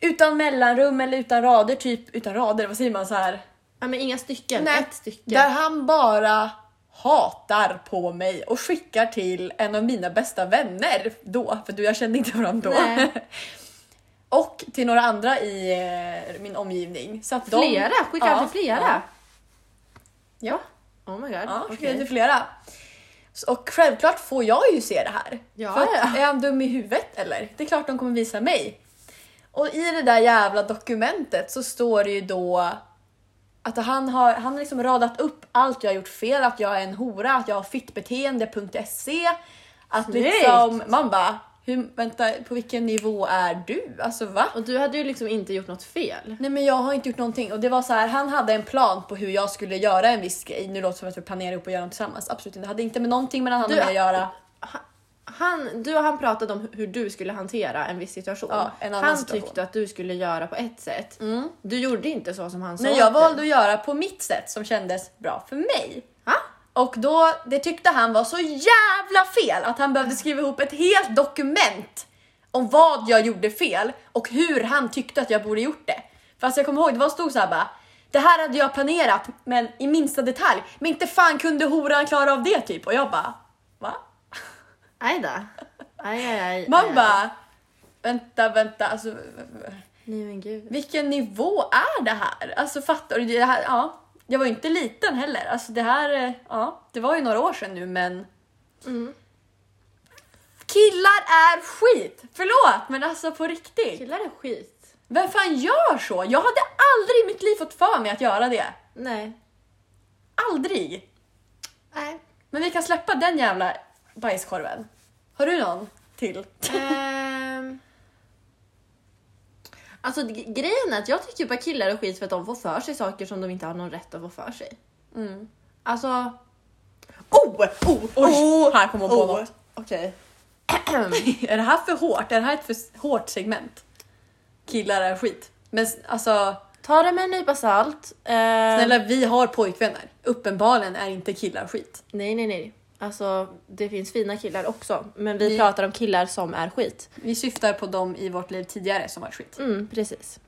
S4: Utan mellanrum eller utan rader, typ. Utan rader, vad säger man så här?
S1: Ja, men inga stycken,
S4: Nej,
S1: ett stycke.
S4: Där han bara hatar på mig och skickar till en av mina bästa vänner då, för du jag kände inte varandra då.
S1: Nej.
S4: *laughs* och till några andra i eh, min omgivning. Så att
S1: Flera?
S4: De,
S1: Skickar han till flera?
S4: Ja,
S1: Oh my god.
S4: ja
S1: okej.
S4: skickar till flera. S- Och självklart får jag ju se det här.
S1: Ja,
S4: för att,
S1: ja.
S4: är han dum i huvudet eller? Det är klart de kommer visa mig. Och i det där jävla dokumentet så står det ju då att han har, han har liksom radat upp allt jag har gjort fel, att jag är en hora, att jag har fittbeteende.se. E, Att
S1: Snyggt.
S4: liksom, man bara, hur, vänta, på vilken nivå är du? Alltså va?
S1: Och du hade ju liksom inte gjort något fel.
S4: Nej men jag har inte gjort någonting och det var så här, han hade en plan på hur jag skulle göra en viss grej. Nu låter det som att vi planerar upp och gör något tillsammans. Absolut inte. Det hade inte med någonting mellan han och
S1: Du-
S4: mig att göra.
S1: Han, du och han pratade om hur du skulle hantera en viss situation.
S4: Ja, en annan
S1: han
S4: situation.
S1: tyckte att du skulle göra på ett sätt. Du gjorde inte så som han sa.
S4: Men
S1: åt
S4: jag
S1: dig.
S4: valde att göra på mitt sätt som kändes bra för mig.
S1: Ha?
S4: Och då, det tyckte han var så jävla fel att han behövde skriva ihop ett helt dokument om vad jag gjorde fel och hur han tyckte att jag borde gjort det. För alltså jag kommer ihåg, det var stod så här bara det här hade jag planerat men i minsta detalj. Men inte fan kunde horan klara av det typ. Och jag bara, va?
S1: Aj då. Aj, aj, aj. Eh,
S4: *laughs*
S1: aj,
S4: Man
S1: aj.
S4: bara, vänta, vänta, alltså
S1: Nej men gud.
S4: vilken nivå är det här? Alltså fattar du? Det här, ja, jag var ju inte liten heller. Alltså det här, eh, ja, det var ju några år sedan nu men. Killar är skit! Förlåt men alltså på riktigt.
S1: Killar är skit.
S4: Vem fan gör så? Jag hade aldrig i mitt liv fått för mig att göra det.
S1: Nej.
S4: Aldrig! *laughs*
S1: Nej.
S4: Men vi kan släppa den jävla bajskorven. Har du någon till?
S1: Ehm. Alltså g- grejen är att jag tycker bara killar är skit för att de får för sig saker som de inte har någon rätt att få för sig.
S4: Mm.
S1: Alltså... Oh! Oh!
S4: Oj, här kommer hon på
S1: oh.
S4: något.
S1: *clears throat*
S4: *clears throat*
S1: Okej.
S4: *laughs* Är det här för hårt? Är det här ett för s- hårt segment? Killar är skit. Men s- alltså,
S1: Ta det med en nypa salt. Ehm,
S4: snälla vi har pojkvänner. Uppenbarligen är inte killar skit.
S1: Nej, nej, nej. Alltså, det finns fina killar också. Men vi
S4: Vi-
S1: pratar om killar som är skit.
S4: Vi syftar på dem i vårt liv tidigare som var skit.
S1: Mm, precis.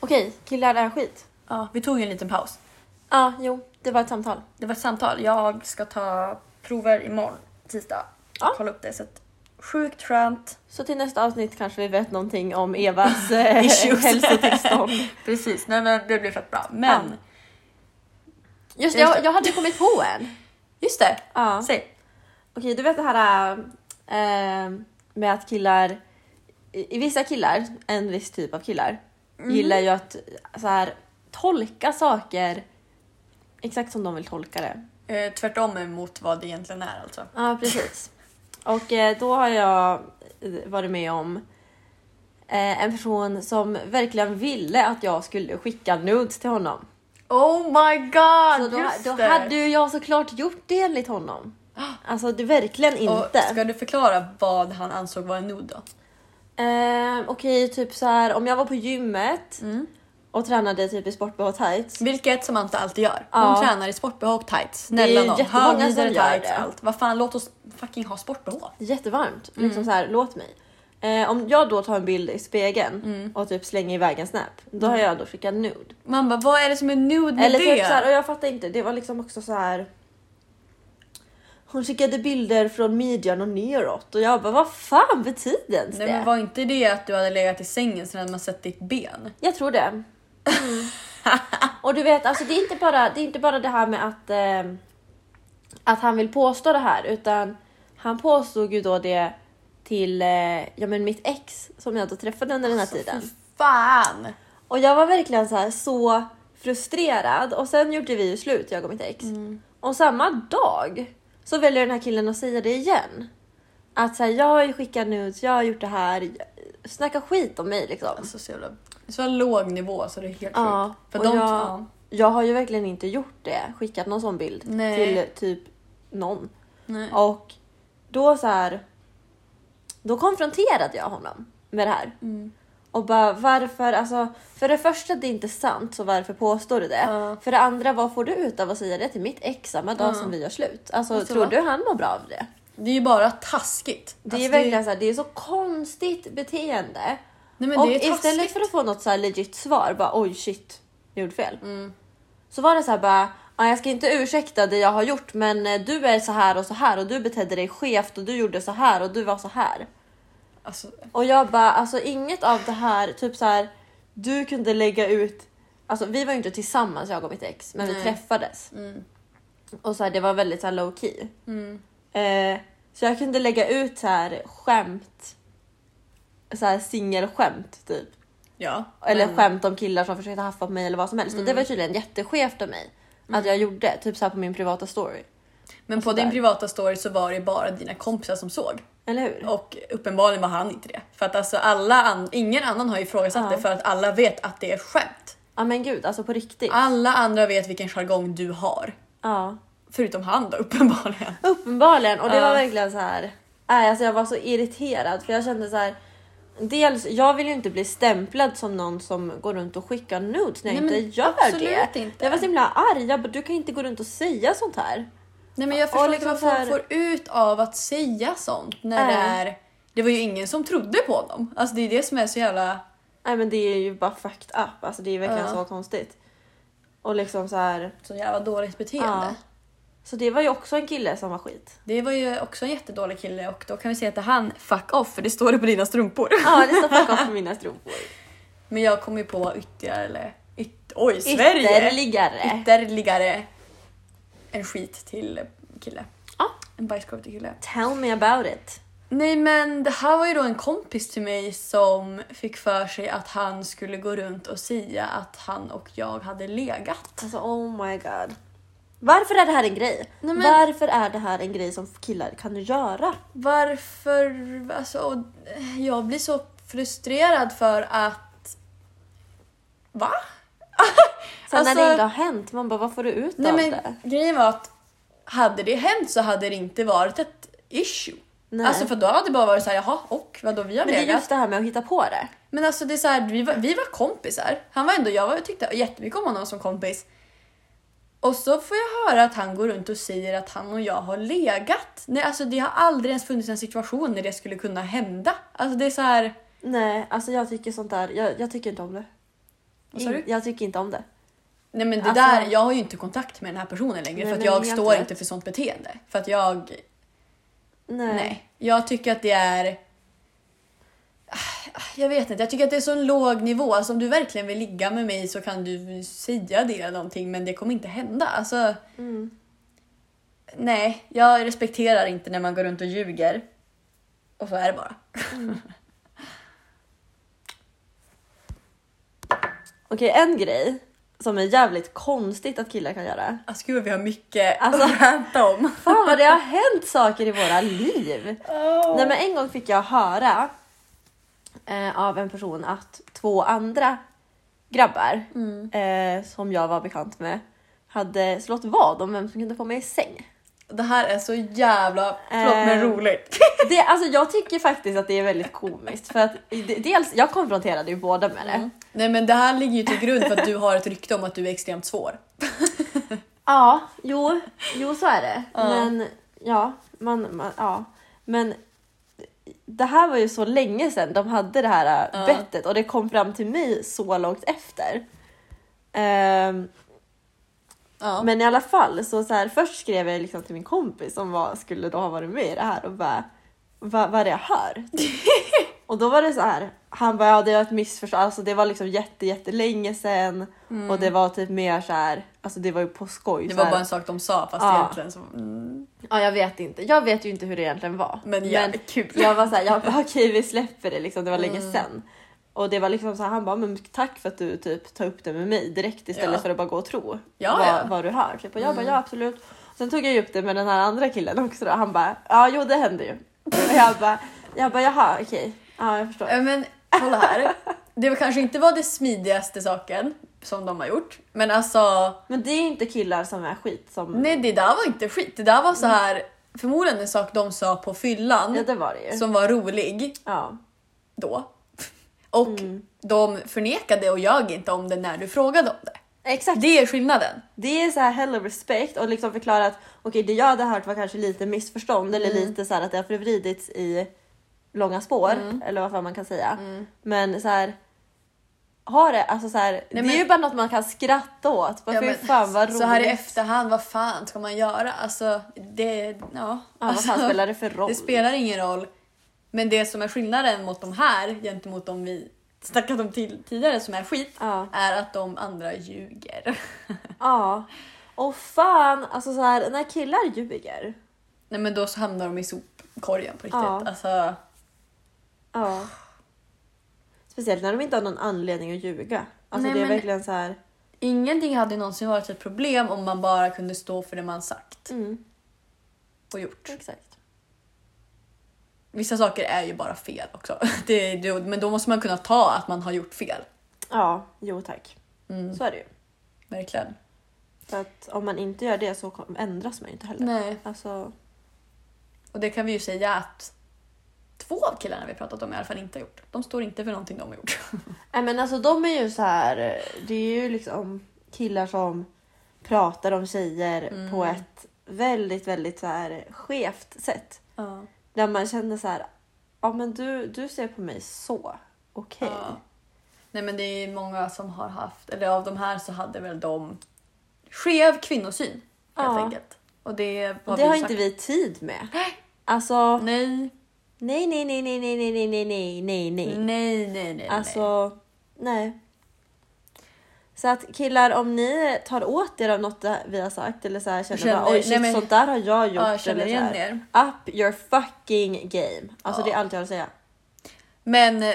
S1: Okej, killar är skit.
S4: Ja, vi tog ju en liten paus.
S1: Ja, jo, det var ett samtal.
S4: Det var ett samtal. Jag ska ta prover imorgon, tisdag.
S1: Ja.
S4: Kolla upp det. Så att, sjukt skönt.
S1: Så till nästa avsnitt kanske vi vet någonting om Evas *laughs* eh,
S4: Issues.
S1: hälsotillstånd.
S4: Precis, nej men det blir fett bra. Men
S1: Ja. Just det, jag, jag hade kommit på en.
S4: just det,
S1: Ja.
S4: säg.
S1: Okej, du vet det här eh, med att killar, i i vissa killar, en viss typ av killar, gillar ju att så här, tolka saker exakt som de vill tolka det.
S4: Eh, tvärtom emot vad det egentligen är alltså.
S1: Ja, precis. Och eh, då har jag eh, varit med om eh, en person som verkligen ville att jag skulle skicka nudes till honom.
S4: Oh my god!
S1: Så Alltså, då,
S4: just
S1: då
S4: det.
S1: hade ju jag såklart gjort det
S4: *gasps*
S1: enligt honom. Alltså det verkligen
S4: Och
S1: inte.
S4: Ska du förklara vad han ansåg vara en nude då?
S1: Ehm, Okej, typ så här om jag var på gymmet
S4: Mm.
S1: och tränade typ i sport och tights.
S4: Vilket Samantha alltid gör. Hon
S1: Ja.
S4: tränar i sportbh och tights.
S1: är ju
S4: Snälla nån,
S1: jättemånga som
S4: högvidare
S1: gör
S4: tights,
S1: det.
S4: allt. Vad fan, låt oss fucking ha sportbh.
S1: Jättevarmt.
S4: Mm.
S1: Liksom så här, låt mig. Ehm, om jag då tar en bild i spegeln
S4: Mm.
S1: och typ slänger iväg en snap, då har jag då skickat nude.
S4: Man bara, vad är det som är nude med
S1: Eller
S4: Mm. det?
S1: typ så här, och jag fattar inte, det var liksom också så här. hon skickade bilder från midjan och neråt och jag bara vad fan betyder ens
S4: Nej
S1: det?
S4: men var inte det att du hade legat i sängen sen hade man sett ditt ben?
S1: Jag tror det. och du vet, alltså, det, är inte bara, det är inte bara det här med att, eh, att han vill påstå det här utan han påstod ju då det till eh, ja, men mitt ex som jag då träffade under den här tiden.
S4: Fan!
S1: Och jag var verkligen så här så frustrerad och sen gjorde vi ju slut jag och mitt ex. Och samma dag så väljer den här killen att säga det igen. Att så här, jag har ju skickat nudes, jag har gjort det här, snacka skit om mig liksom.
S4: Alltså så jävla... Så låg nivå så det är helt
S1: Ja,
S4: sjukt. För
S1: och
S4: de
S1: jag-
S4: ja.
S1: Jag har ju verkligen inte gjort det, skickat någon sån bild
S4: Nej.
S1: till typ någon.
S4: Nej.
S1: Och då så här. Då konfronterade jag honom med det här.
S4: Mm.
S1: Och bara varför, alltså för det första det är inte sant så varför påstår du det? För det andra vad får du ut av att säga det till mitt ex samma dag som vi gör slut? Alltså tror du han mår bra av det?
S4: Det är ju bara taskigt.
S1: Det
S4: Alltså,
S1: är verkligen så här, det är så konstigt beteende.
S4: Nej men
S1: och
S4: det är taskigt.
S1: istället för att få något så här legit svar, bara oj shit, jag gjorde fel.
S4: Mm.
S1: Så var det så här bara, "Ja, jag ska inte ursäkta det jag har gjort men eh, du är så här och så här och du betedde dig skevt och du gjorde så här och du var så här.
S4: Alltså,
S1: Och jag bara, alltså inget av det här, typ så här, du kunde lägga ut, alltså vi var ju inte tillsammans jag och mitt ex, men vi träffades.
S4: Mm.
S1: Och så här, det var väldigt så här low key. Eh, så jag kunde lägga ut så här skämt, så här singelskämt typ.
S4: ja.
S1: Eller skämt om killar som försökte haffa på mig eller vad som helst. Och det
S4: Mm.
S1: var tydligen jätteskevt av mig att jag gjorde, typ så här på min privata story.
S4: Men
S1: Alltså
S4: på din privata story så var det bara dina kompisar som såg.
S1: Eller hur?
S4: Och uppenbarligen var han inte det. För att alltså alla an- ingen annan har ifrågasatt det för att alla vet att det är skämt.
S1: Ja men gud, alltså på riktigt.
S4: Alla andra vet vilken jargong du har.
S1: Ja.
S4: Förutom han då *laughs* uppenbarligen.
S1: Uppenbarligen. Och det var verkligen så här. Nej, alltså jag var så irriterad för jag kände så här. Dels, jag vill ju inte bli stämplad som någon som går runt och skickar nudes när jag
S4: Nej, men
S1: inte gör
S4: absolut
S1: det.
S4: inte.
S1: Jag var så himla arg. Jag bara, du kan inte gå runt och säga sånt här.
S4: Nej men jag
S1: Och
S4: förstår
S1: liksom
S4: inte
S1: så
S4: vad
S1: här-
S4: folk får ut av att säga sånt när det
S1: Nej.
S4: är... Det var ju ingen som trodde på dem. Alltså det är det som är så jävla...
S1: Nej men det är ju bara fucked up. Alltså det är verkligen så konstigt. Och liksom så här.
S4: Så jävla dåligt beteende.
S1: Ja. Så det var ju också en kille som var skit.
S4: Det var ju också en jättedålig kille och då kan vi säga att det är han fuck off för det står det på dina strumpor.
S1: Ja, det står fuck off på mina *laughs* strumpor.
S4: Men jag kom ju på ytterligare... Yt, oj, Sverige!
S1: Ytterligare.
S4: Ytterligare en skit till kille.
S1: Ja.
S4: En bajskorv till kille.
S1: Tell me about it.
S4: Nej men det här var ju då en kompis till mig som fick för sig att han skulle gå runt och säga att han och jag hade legat.
S1: Alltså oh my god. Varför är det här en grej?
S4: Nej, men-
S1: Varför är det här en grej som killar kan göra?
S4: Varför? Alltså, och jag blir så frustrerad för att... Va?
S1: Sen när
S4: Alltså-
S1: det inte har hänt, man bara vad får du ut
S4: Nej
S1: av
S4: men
S1: det?
S4: grejen var att hade det hänt så hade det inte varit ett issue.
S1: Nej.
S4: Alltså för då hade det bara varit såhär, jaha och vadå vi har
S1: Men det är
S4: legat.
S1: just det här med att hitta på det.
S4: Men alltså det är så här, vi, var, vi var kompisar. Han var ändå, jag var, tyckte jättemycket om honom som kompis. Och så får jag höra att han går runt och säger att han och jag har legat. Nej, alltså det har aldrig ens funnits en situation när det skulle kunna hända. Alltså det är så här...
S1: Nej, alltså jag tycker sånt där, jag, jag tycker inte om det.
S4: Vad sa du?
S1: Jag tycker inte om det.
S4: Nej men det
S1: Alltså-
S4: där, jag har ju inte kontakt med den här personen längre
S1: Nej,
S4: för att
S1: men
S4: jag
S1: helt
S4: står
S1: rätt.
S4: inte för sånt beteende. För att jag,
S1: Nej.
S4: nej. Jag tycker att det är... ah, Jag vet inte, jag tycker att det är så en låg nivå. Alltså om du verkligen vill ligga med mig så kan du säga det eller någonting men det kommer inte hända. Alltså...
S1: Mm.
S4: Nej, jag respekterar inte när man går runt och ljuger. Och så är det bara.
S1: Okej, en grej som är jävligt konstigt att killar kan göra.
S4: Alltså gud vi har mycket
S1: Alltså-
S4: att ranta om.
S1: Fan vad det har hänt saker i våra liv. Nej men en gång fick jag höra eh, av en person att två andra grabbar eh, som jag var bekant med hade slått vad om vem som kunde få mig i säng. *laughs*
S4: Det här är så jävla, förlåt men
S1: Eh.
S4: roligt. *laughs*
S1: Det, alltså, jag tycker faktiskt att det är väldigt komiskt för att det- dels jag konfronterade ju båda med det.
S4: Nej men det här ligger ju till grund för att du har ett rykte om att du är extremt svår.
S1: Ja, jo, jo så är det. Men ja, man, man, ja, men det här var ju så länge sedan de hade det här äh, bettet och det kom fram till mig så långt efter. Ehm,
S4: Ja.
S1: Men i alla fall, så, så här, först skrev jag liksom till min kompis som var, skulle då ha varit med i det här och bara Va, vad är det jag
S4: *laughs*
S1: hör? och då var det så här, han bara ja det var ett missförstånd, alltså det var liksom jätte jättelänge sedan och det var typ mer så här, alltså det var ju på skoj.
S4: Mm. Det
S1: så
S4: var
S1: här.
S4: bara en sak de sa fast
S1: Ja.
S4: egentligen så... Mm.
S1: Ja jag vet inte, jag vet ju inte hur det egentligen var.
S4: Men jävligt kul. Mm.
S1: jag var såhär, jag bara, *laughs* okej vi släpper det liksom, det var länge sen. Och det var liksom så här, han bara, men tack för att du typ tar upp det med mig direkt istället
S4: Ja.
S1: för att bara gå och tro
S4: Ja,
S1: vad,
S4: ja. Mm.
S1: vad du hör. Typ. Och jag bara, ja absolut. Sen tog jag ju upp det med den här andra killen också då. han bara, ja jo det händer ju. Och jag bara, jag bara jaha okej, ja jag förstår.
S4: Äh, Men kolla här. Det var kanske inte var det smidigaste saken som de har gjort. Men alltså,
S1: Men det är ju inte killar som är skit som...
S4: nej det där var inte skit. Det där var så här förmodligen en sak de sa på fyllan
S1: Ja det var det ju.
S4: som var rolig
S1: Ja.
S4: då. Och
S1: Mm.
S4: de förnekade och ljög inte om det när du frågade om det.
S1: Exakt.
S4: Det är skillnaden.
S1: Det är så här hell of respect och liksom förklara att okej det jag hade hört var kanske lite missförstånd eller
S4: Mm.
S1: lite så här att det har förvridits i långa spår
S4: Mm.
S1: eller vad fan man kan säga. Men så här ha det, alltså så här, det är
S4: men-
S1: ju bara något man kan skratta åt. Ja,
S4: Ja,
S1: fy
S4: men
S1: fan vad roligt.
S4: Så här i efterhand, vad fan ska man göra? Alltså, det... Ja.
S1: ja,
S4: *laughs*
S1: vad fan
S4: Alltså,
S1: spelar det för roll?
S4: Det spelar ingen roll. Men det som är skillnaden mot de här gentemot de vi snackat om till, tidigare som är skit
S1: Ja.
S4: är att de andra ljuger. *laughs*
S1: Ja. Och fan, alltså så här, när killar ljuger.
S4: Nej men då så hamnar de i sopkorgen på riktigt.
S1: Ja.
S4: Alltså,
S1: Ja. Speciellt när de inte har någon anledning att ljuga. Alltså
S4: Nej,
S1: det är
S4: men-
S1: verkligen så här.
S4: ingenting hade någonsin varit ett problem om man bara kunde stå för det man sagt och gjort.
S1: Exakt.
S4: Vissa saker är ju bara fel också. *laughs* Det, det, men då måste man kunna ta att man har gjort fel. Mm,
S1: Ja, jo tack. Så är det ju.
S4: Verkligen.
S1: För att om man inte gör det så kom- ändras man ju inte heller.
S4: Nej.
S1: Alltså,
S4: Och det kan vi ju säga att två av killarna vi pratat om i alla fall inte har gjort. De står inte för någonting de har gjort.
S1: nej men alltså de är ju så här. Det är ju liksom killar som pratar om tjejer
S4: Mm.
S1: på ett väldigt, väldigt så här eh, skevt sätt.
S4: Ja.
S1: Där man känner så här. Ja men du, du ser på mig så. Okej.
S4: Ja. Nej men det är många som har haft, eller av de här så hade väl de skev kvinnosyn helt
S1: Ja.
S4: enkelt. Och det,
S1: Och det har inte vi tid med. Alltså
S4: Nej,
S1: nej, nej, nej, nej, nej, nej, nej, nej, nej, nej, nej.
S4: nej, nej, nej. nej.
S1: Alltså, nej. Så att killar, om ni tar åt er av något det- vi har sagt eller så här, känner,
S4: Känner-
S1: bara oj
S4: nej,
S1: shit,
S4: men-
S1: sånt där har jag gjort.
S4: Ja, jag känner
S1: eller så
S4: igen
S1: här,
S4: er.
S1: Up your fucking game. Alltså
S4: Ja.
S1: det är allt jag har att säga.
S4: Men eh,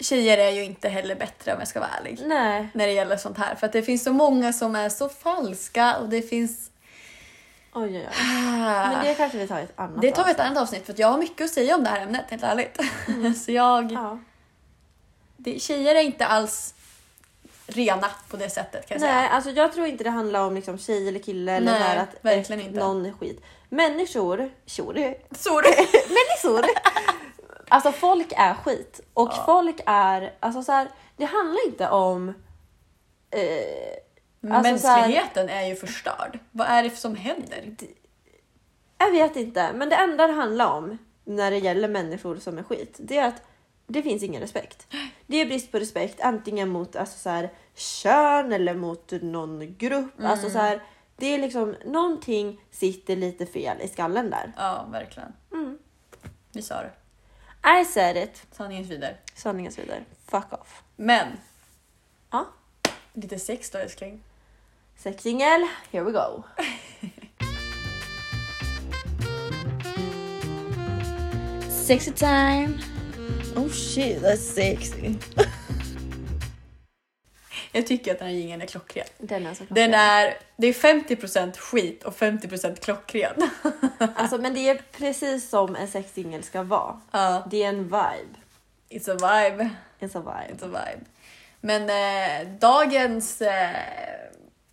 S4: tjejer är ju inte heller bättre om jag ska vara ärlig.
S1: Nej.
S4: När det gäller sånt här. För att det finns så många som är så falska och det finns... ah.
S1: Oj, oj, oj. Men det kanske vi tar i ett annat
S4: Det tar vi ett
S1: avsnitt.
S4: annat avsnitt för att jag har mycket att säga om det här ämnet helt ärligt. *laughs* så jag...
S1: Mm. Ja.
S4: Det, tjejer är inte alls rena på det sättet kan jag
S1: Nej,
S4: säga.
S1: alltså jag tror inte det handlar om liksom tjej eller kille eller
S4: Nej,
S1: så här att
S4: verkligen
S1: ett-
S4: inte.
S1: någon är skit. Människor, tjur,
S4: Sorry.
S1: människor. Alltså folk är skit och folk är, alltså så här, det handlar inte om eh, Alltså, så här-
S4: Mänskligheten är ju förstörd. Vad är det som händer?
S1: jag vet inte, men det enda det handlar om när det gäller människor som är skit, det är att det finns ingen respekt. Det är brist på respekt antingen mot alltså så här, kön eller mot någon grupp. Alltså så här, det är liksom någonting sitter lite fel i skallen där.
S4: Ja, verkligen.
S1: Mm.
S4: Vi sa det.
S1: I said it.
S4: Sanningen svider.
S1: Sanningens vidare. Fuck off.
S4: Men
S1: Ja,
S4: lite sex då älskling.
S1: sexingel. Here we go.
S7: Sexy time!
S1: Oh shit, that's sexy.
S4: Jag tycker att den här jingeln är klockren.
S1: Den är så klockren.
S4: Den är, det är 50% skit och 50% klockren.
S1: *laughs*
S4: *laughs*
S1: Alltså, men det är precis som en sexingel ska vara.
S4: Ja,
S1: Det är en vibe.
S4: it's a vibe.
S1: It's a vibe.
S4: It's a vibe. Men eh, dagens eh,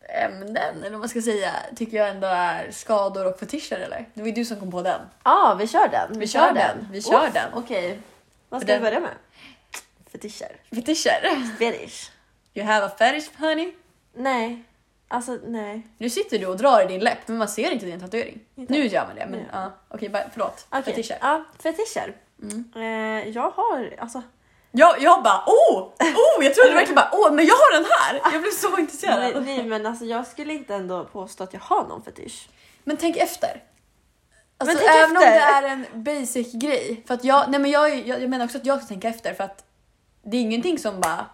S4: ämnen, eller vad man ska säga, tycker jag ändå är skador och fetischer eller? Det var ju du som kom på den.
S1: Ja, ah, vi kör den. Vi,
S4: kör den. Vi kör den.
S1: Okej. Vad
S4: För
S1: ska vi
S4: den-
S1: börja med? Fetischer.
S4: Fetischer!
S1: Fetish.
S4: You have a fetish honey.
S1: Nej. Alltså nej.
S4: Nu sitter du och drar i din läpp men man ser inte din tatuering. Nu gör man det men
S1: Nej.
S4: ja. okej bara, förlåt.
S1: Okej.
S4: Fetischer.
S1: Ja, fetischer. Eh, jag har alltså.
S4: Jag, jag bara oh, oh, jag trodde verkligen bara åh, men jag har den här. Jag blev så intresserad.
S1: Nej men alltså jag skulle inte ändå påstå att jag har någon fetisch.
S4: Men tänk efter. Alltså,
S1: tänk
S4: även om
S1: efter.
S4: det är en basic grej. För att jag, nej men jag, är- jag, jag menar också att jag ska tänka efter för att det är ingenting som bara...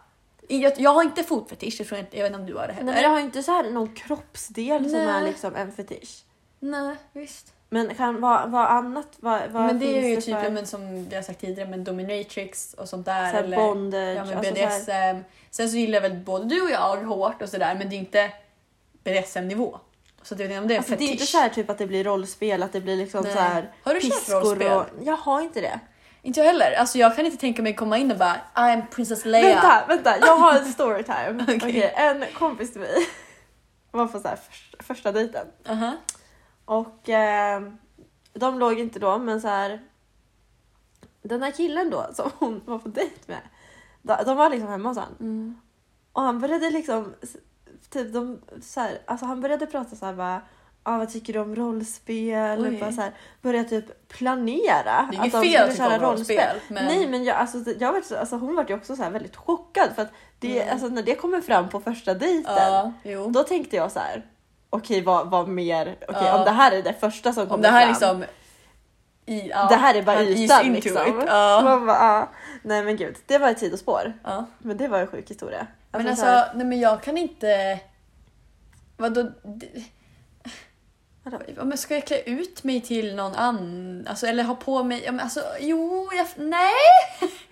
S4: Jag, jag har inte fotfetisch, jag, tror inte, jag vet inte om du har det heller.
S1: Nej, men jag har inte så här någon kroppsdel som
S4: Nej.
S1: är liksom en fetisch.
S4: nej visst.
S1: Men kan, vad, vad annat? Vad, vad
S4: men det
S1: finns
S4: är ju
S1: det
S4: typ
S1: för,
S4: ja, men, som vi har sagt tidigare, men dominatrix och sånt där.
S1: så här
S4: eller,
S1: bondage?
S4: ja, men
S1: alltså
S4: BDSM.
S1: så här-
S4: Sen så gillar väl både du och jag hårt och sådär, men det är inte BDSM-nivå. Så att jag vet inte om det är en
S1: Alltså, det är
S4: fetisch.
S1: inte så här typ att det blir rollspel, att det blir liksom
S4: Nej.
S1: så här
S4: Har du kört rollspel?
S1: Jag har inte det.
S4: Inte jag heller. Alltså jag kan inte tänka mig komma in och bara I'm Princess Leia.
S1: Vänta, vänta, jag har
S4: *laughs*
S1: en storytime.
S4: Okej.
S1: okay. en kompis till mig *laughs* var på så här första, första dejten
S4: Aha.
S1: och eh, de låg inte då men så här den här killen då som hon var på dejt med. de- De var liksom hemma hos han.
S4: Mm.
S1: Och han började liksom s- typ de så här, alltså han började prata så här bara Ah, vad tycker du om rollspel?
S4: Oj.
S1: Och bara så här, börja typ planera.
S4: Det är inget
S1: de
S4: fel
S1: skulle
S4: att tycka
S1: köra
S4: om rollspel, men-
S1: Nej men jag, alltså, jag var, alltså, hon var ju också så här väldigt chockad för att det, alltså, när det kommer fram på första dejten
S4: Mm. Ja, jo.
S1: då tänkte jag så här. Okej vad, vad mer, okej
S4: Ja.
S1: om det här är det första som kommer
S4: Om det här är
S1: fram.
S4: liksom... I, ja,
S1: det här är bara
S4: han is
S1: ytan
S4: into
S1: liksom.
S4: it. Ja.
S1: Man bara, ah. Nej men gud, det var ett sidospår.
S4: Ja.
S1: Men det var en sjuk historia.
S4: Men
S1: så här-
S4: alltså, nej men jag kan inte... Vadå? Det-
S1: Vadå?
S4: Ja, Men ska jag klä ut mig till någon annan? Alltså, eller ha på mig... Ja, men alltså, jo, jag... Nej!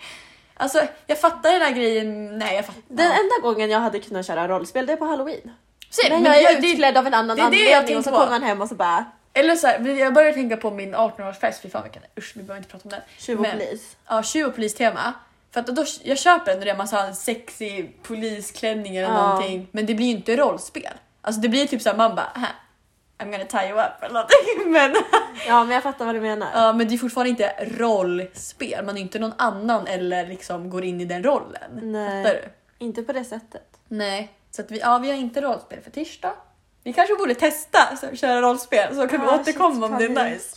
S4: *laughs* Alltså, jag fattar den här grejen. Nej, jag fattar.
S1: Den enda gången jag hade kunnat köra rollspel det är på halloween.
S4: Se,
S1: Men
S4: men
S1: jag är
S4: det-
S1: utklädd av en annan
S4: det är det jag
S1: anledning och så
S4: tänkte på.
S1: kommer man hem och så bara
S4: Eller så här, men jag började tänka på min 18-årsfest, fy fan vilken, usch vi behöver inte prata om den.
S1: tjuv och
S4: Men-
S1: polis.
S4: Ja, tjuv och polistema. För att då, jag köper ändå det, man sa en sexy polisklänning eller
S1: Ja.
S4: någonting. Men det blir ju inte rollspel. Alltså det blir typ såhär man bara "Aha, I'm gonna tie you up eller någonting. *laughs* Men,
S1: Ja men jag fattar vad du menar.
S4: ja, men det är fortfarande inte rollspel, man är inte någon annan eller liksom går in i den rollen.
S1: Nej,
S4: Fattar du?
S1: eh, inte på det sättet.
S4: Nej. Så att vi, ja, vi har inte rollspel för tisdag. Vi kanske borde testa så, köra rollspel så kan vi
S1: Ah,
S4: återkomma
S1: shit,
S4: om det är
S1: panik.
S4: nice.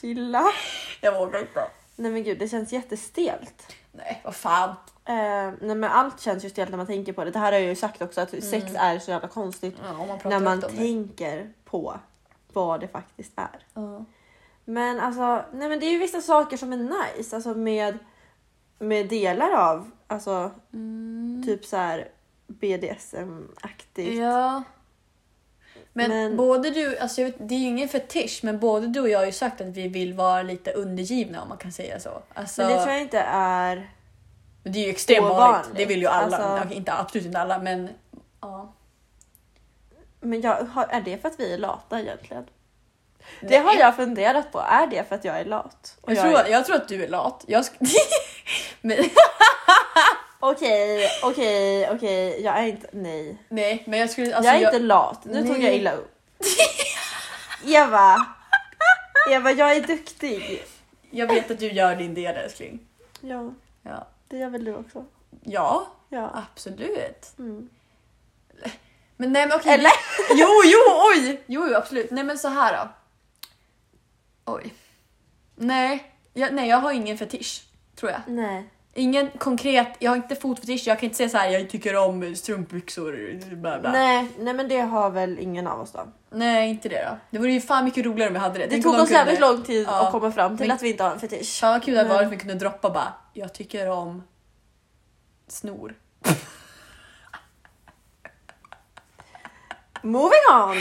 S1: Chilla.
S4: Jag vågar inte.
S1: Nej men gud det känns jättestelt.
S4: Nej, vad fan.
S1: Eh, nej men allt känns ju stelt när man tänker på det. Det här har jag ju sagt också att sex är så jävla konstigt
S4: Mm. Ja, om man pratar
S1: när man
S4: högt om det.
S1: tänker på vad det faktiskt är. Men alltså, nej men det är ju vissa saker som är nice alltså med, med delar av alltså typ så här BDSM-aktigt.
S4: Mm. Ja. Men,
S1: Men-
S4: både du, alltså jag vet, det är ju ingen fetisch, men både du och jag har ju sagt att vi vill vara lite undergivna om man kan säga så. Alltså,
S1: Men det tror jag inte är...
S4: det är ju extremt
S1: ovanligt.
S4: vanligt. Det vill ju alla.
S1: Alltså-
S4: Okej, inte, absolut inte alla, men ja.
S1: Men jag, har, är det för att vi är lata egentligen? Det
S4: Nej.
S1: har jag funderat på. Är det för att jag är lat? Och
S4: Jag,
S1: jag
S4: tror,
S1: är-
S4: jag tror att du är lat. Jag sk- *laughs* men,
S1: Okej, okej, okej. Jag är inte... Nej.
S4: nej, men jag skulle... Alltså,
S1: jag är inte lat. Nu tog
S4: Nej.
S1: jag illa *laughs* upp. Eva! Eva, jag är duktig.
S4: jag, jag vet att du gör din del älskling.
S1: Ja,
S4: Ja.
S1: det gör väl du också?
S4: ja,
S1: Ja.
S4: absolut.
S1: Mm.
S4: Men nej men okej.
S1: Eller?
S4: Jo, jo, oj! Jo, jo, absolut. Nej men så här då. Oj. Nej, jag, nej, jag har ingen fetisch. Tror jag.
S1: Nej.
S4: Ingen konkret, jag har inte fotfetisch, jag kan inte säga så här. jag tycker om strumpbyxor. Bla bla. Nej.
S1: nej. Nej, men det har väl ingen av oss då.
S4: inte det då. Det vore ju fan mycket roligare om vi hade det.
S1: Det
S4: Tänk om
S1: tog
S4: någon
S1: oss jävligt
S4: kunde-
S1: lång Mm. tid
S4: Ja.
S1: att komma fram till
S4: Men-
S1: att vi inte har en fetisch.
S4: Fan vad kul det hade varit om vi kunde droppa bara, jag tycker om snor.
S1: Moving *laughs* on!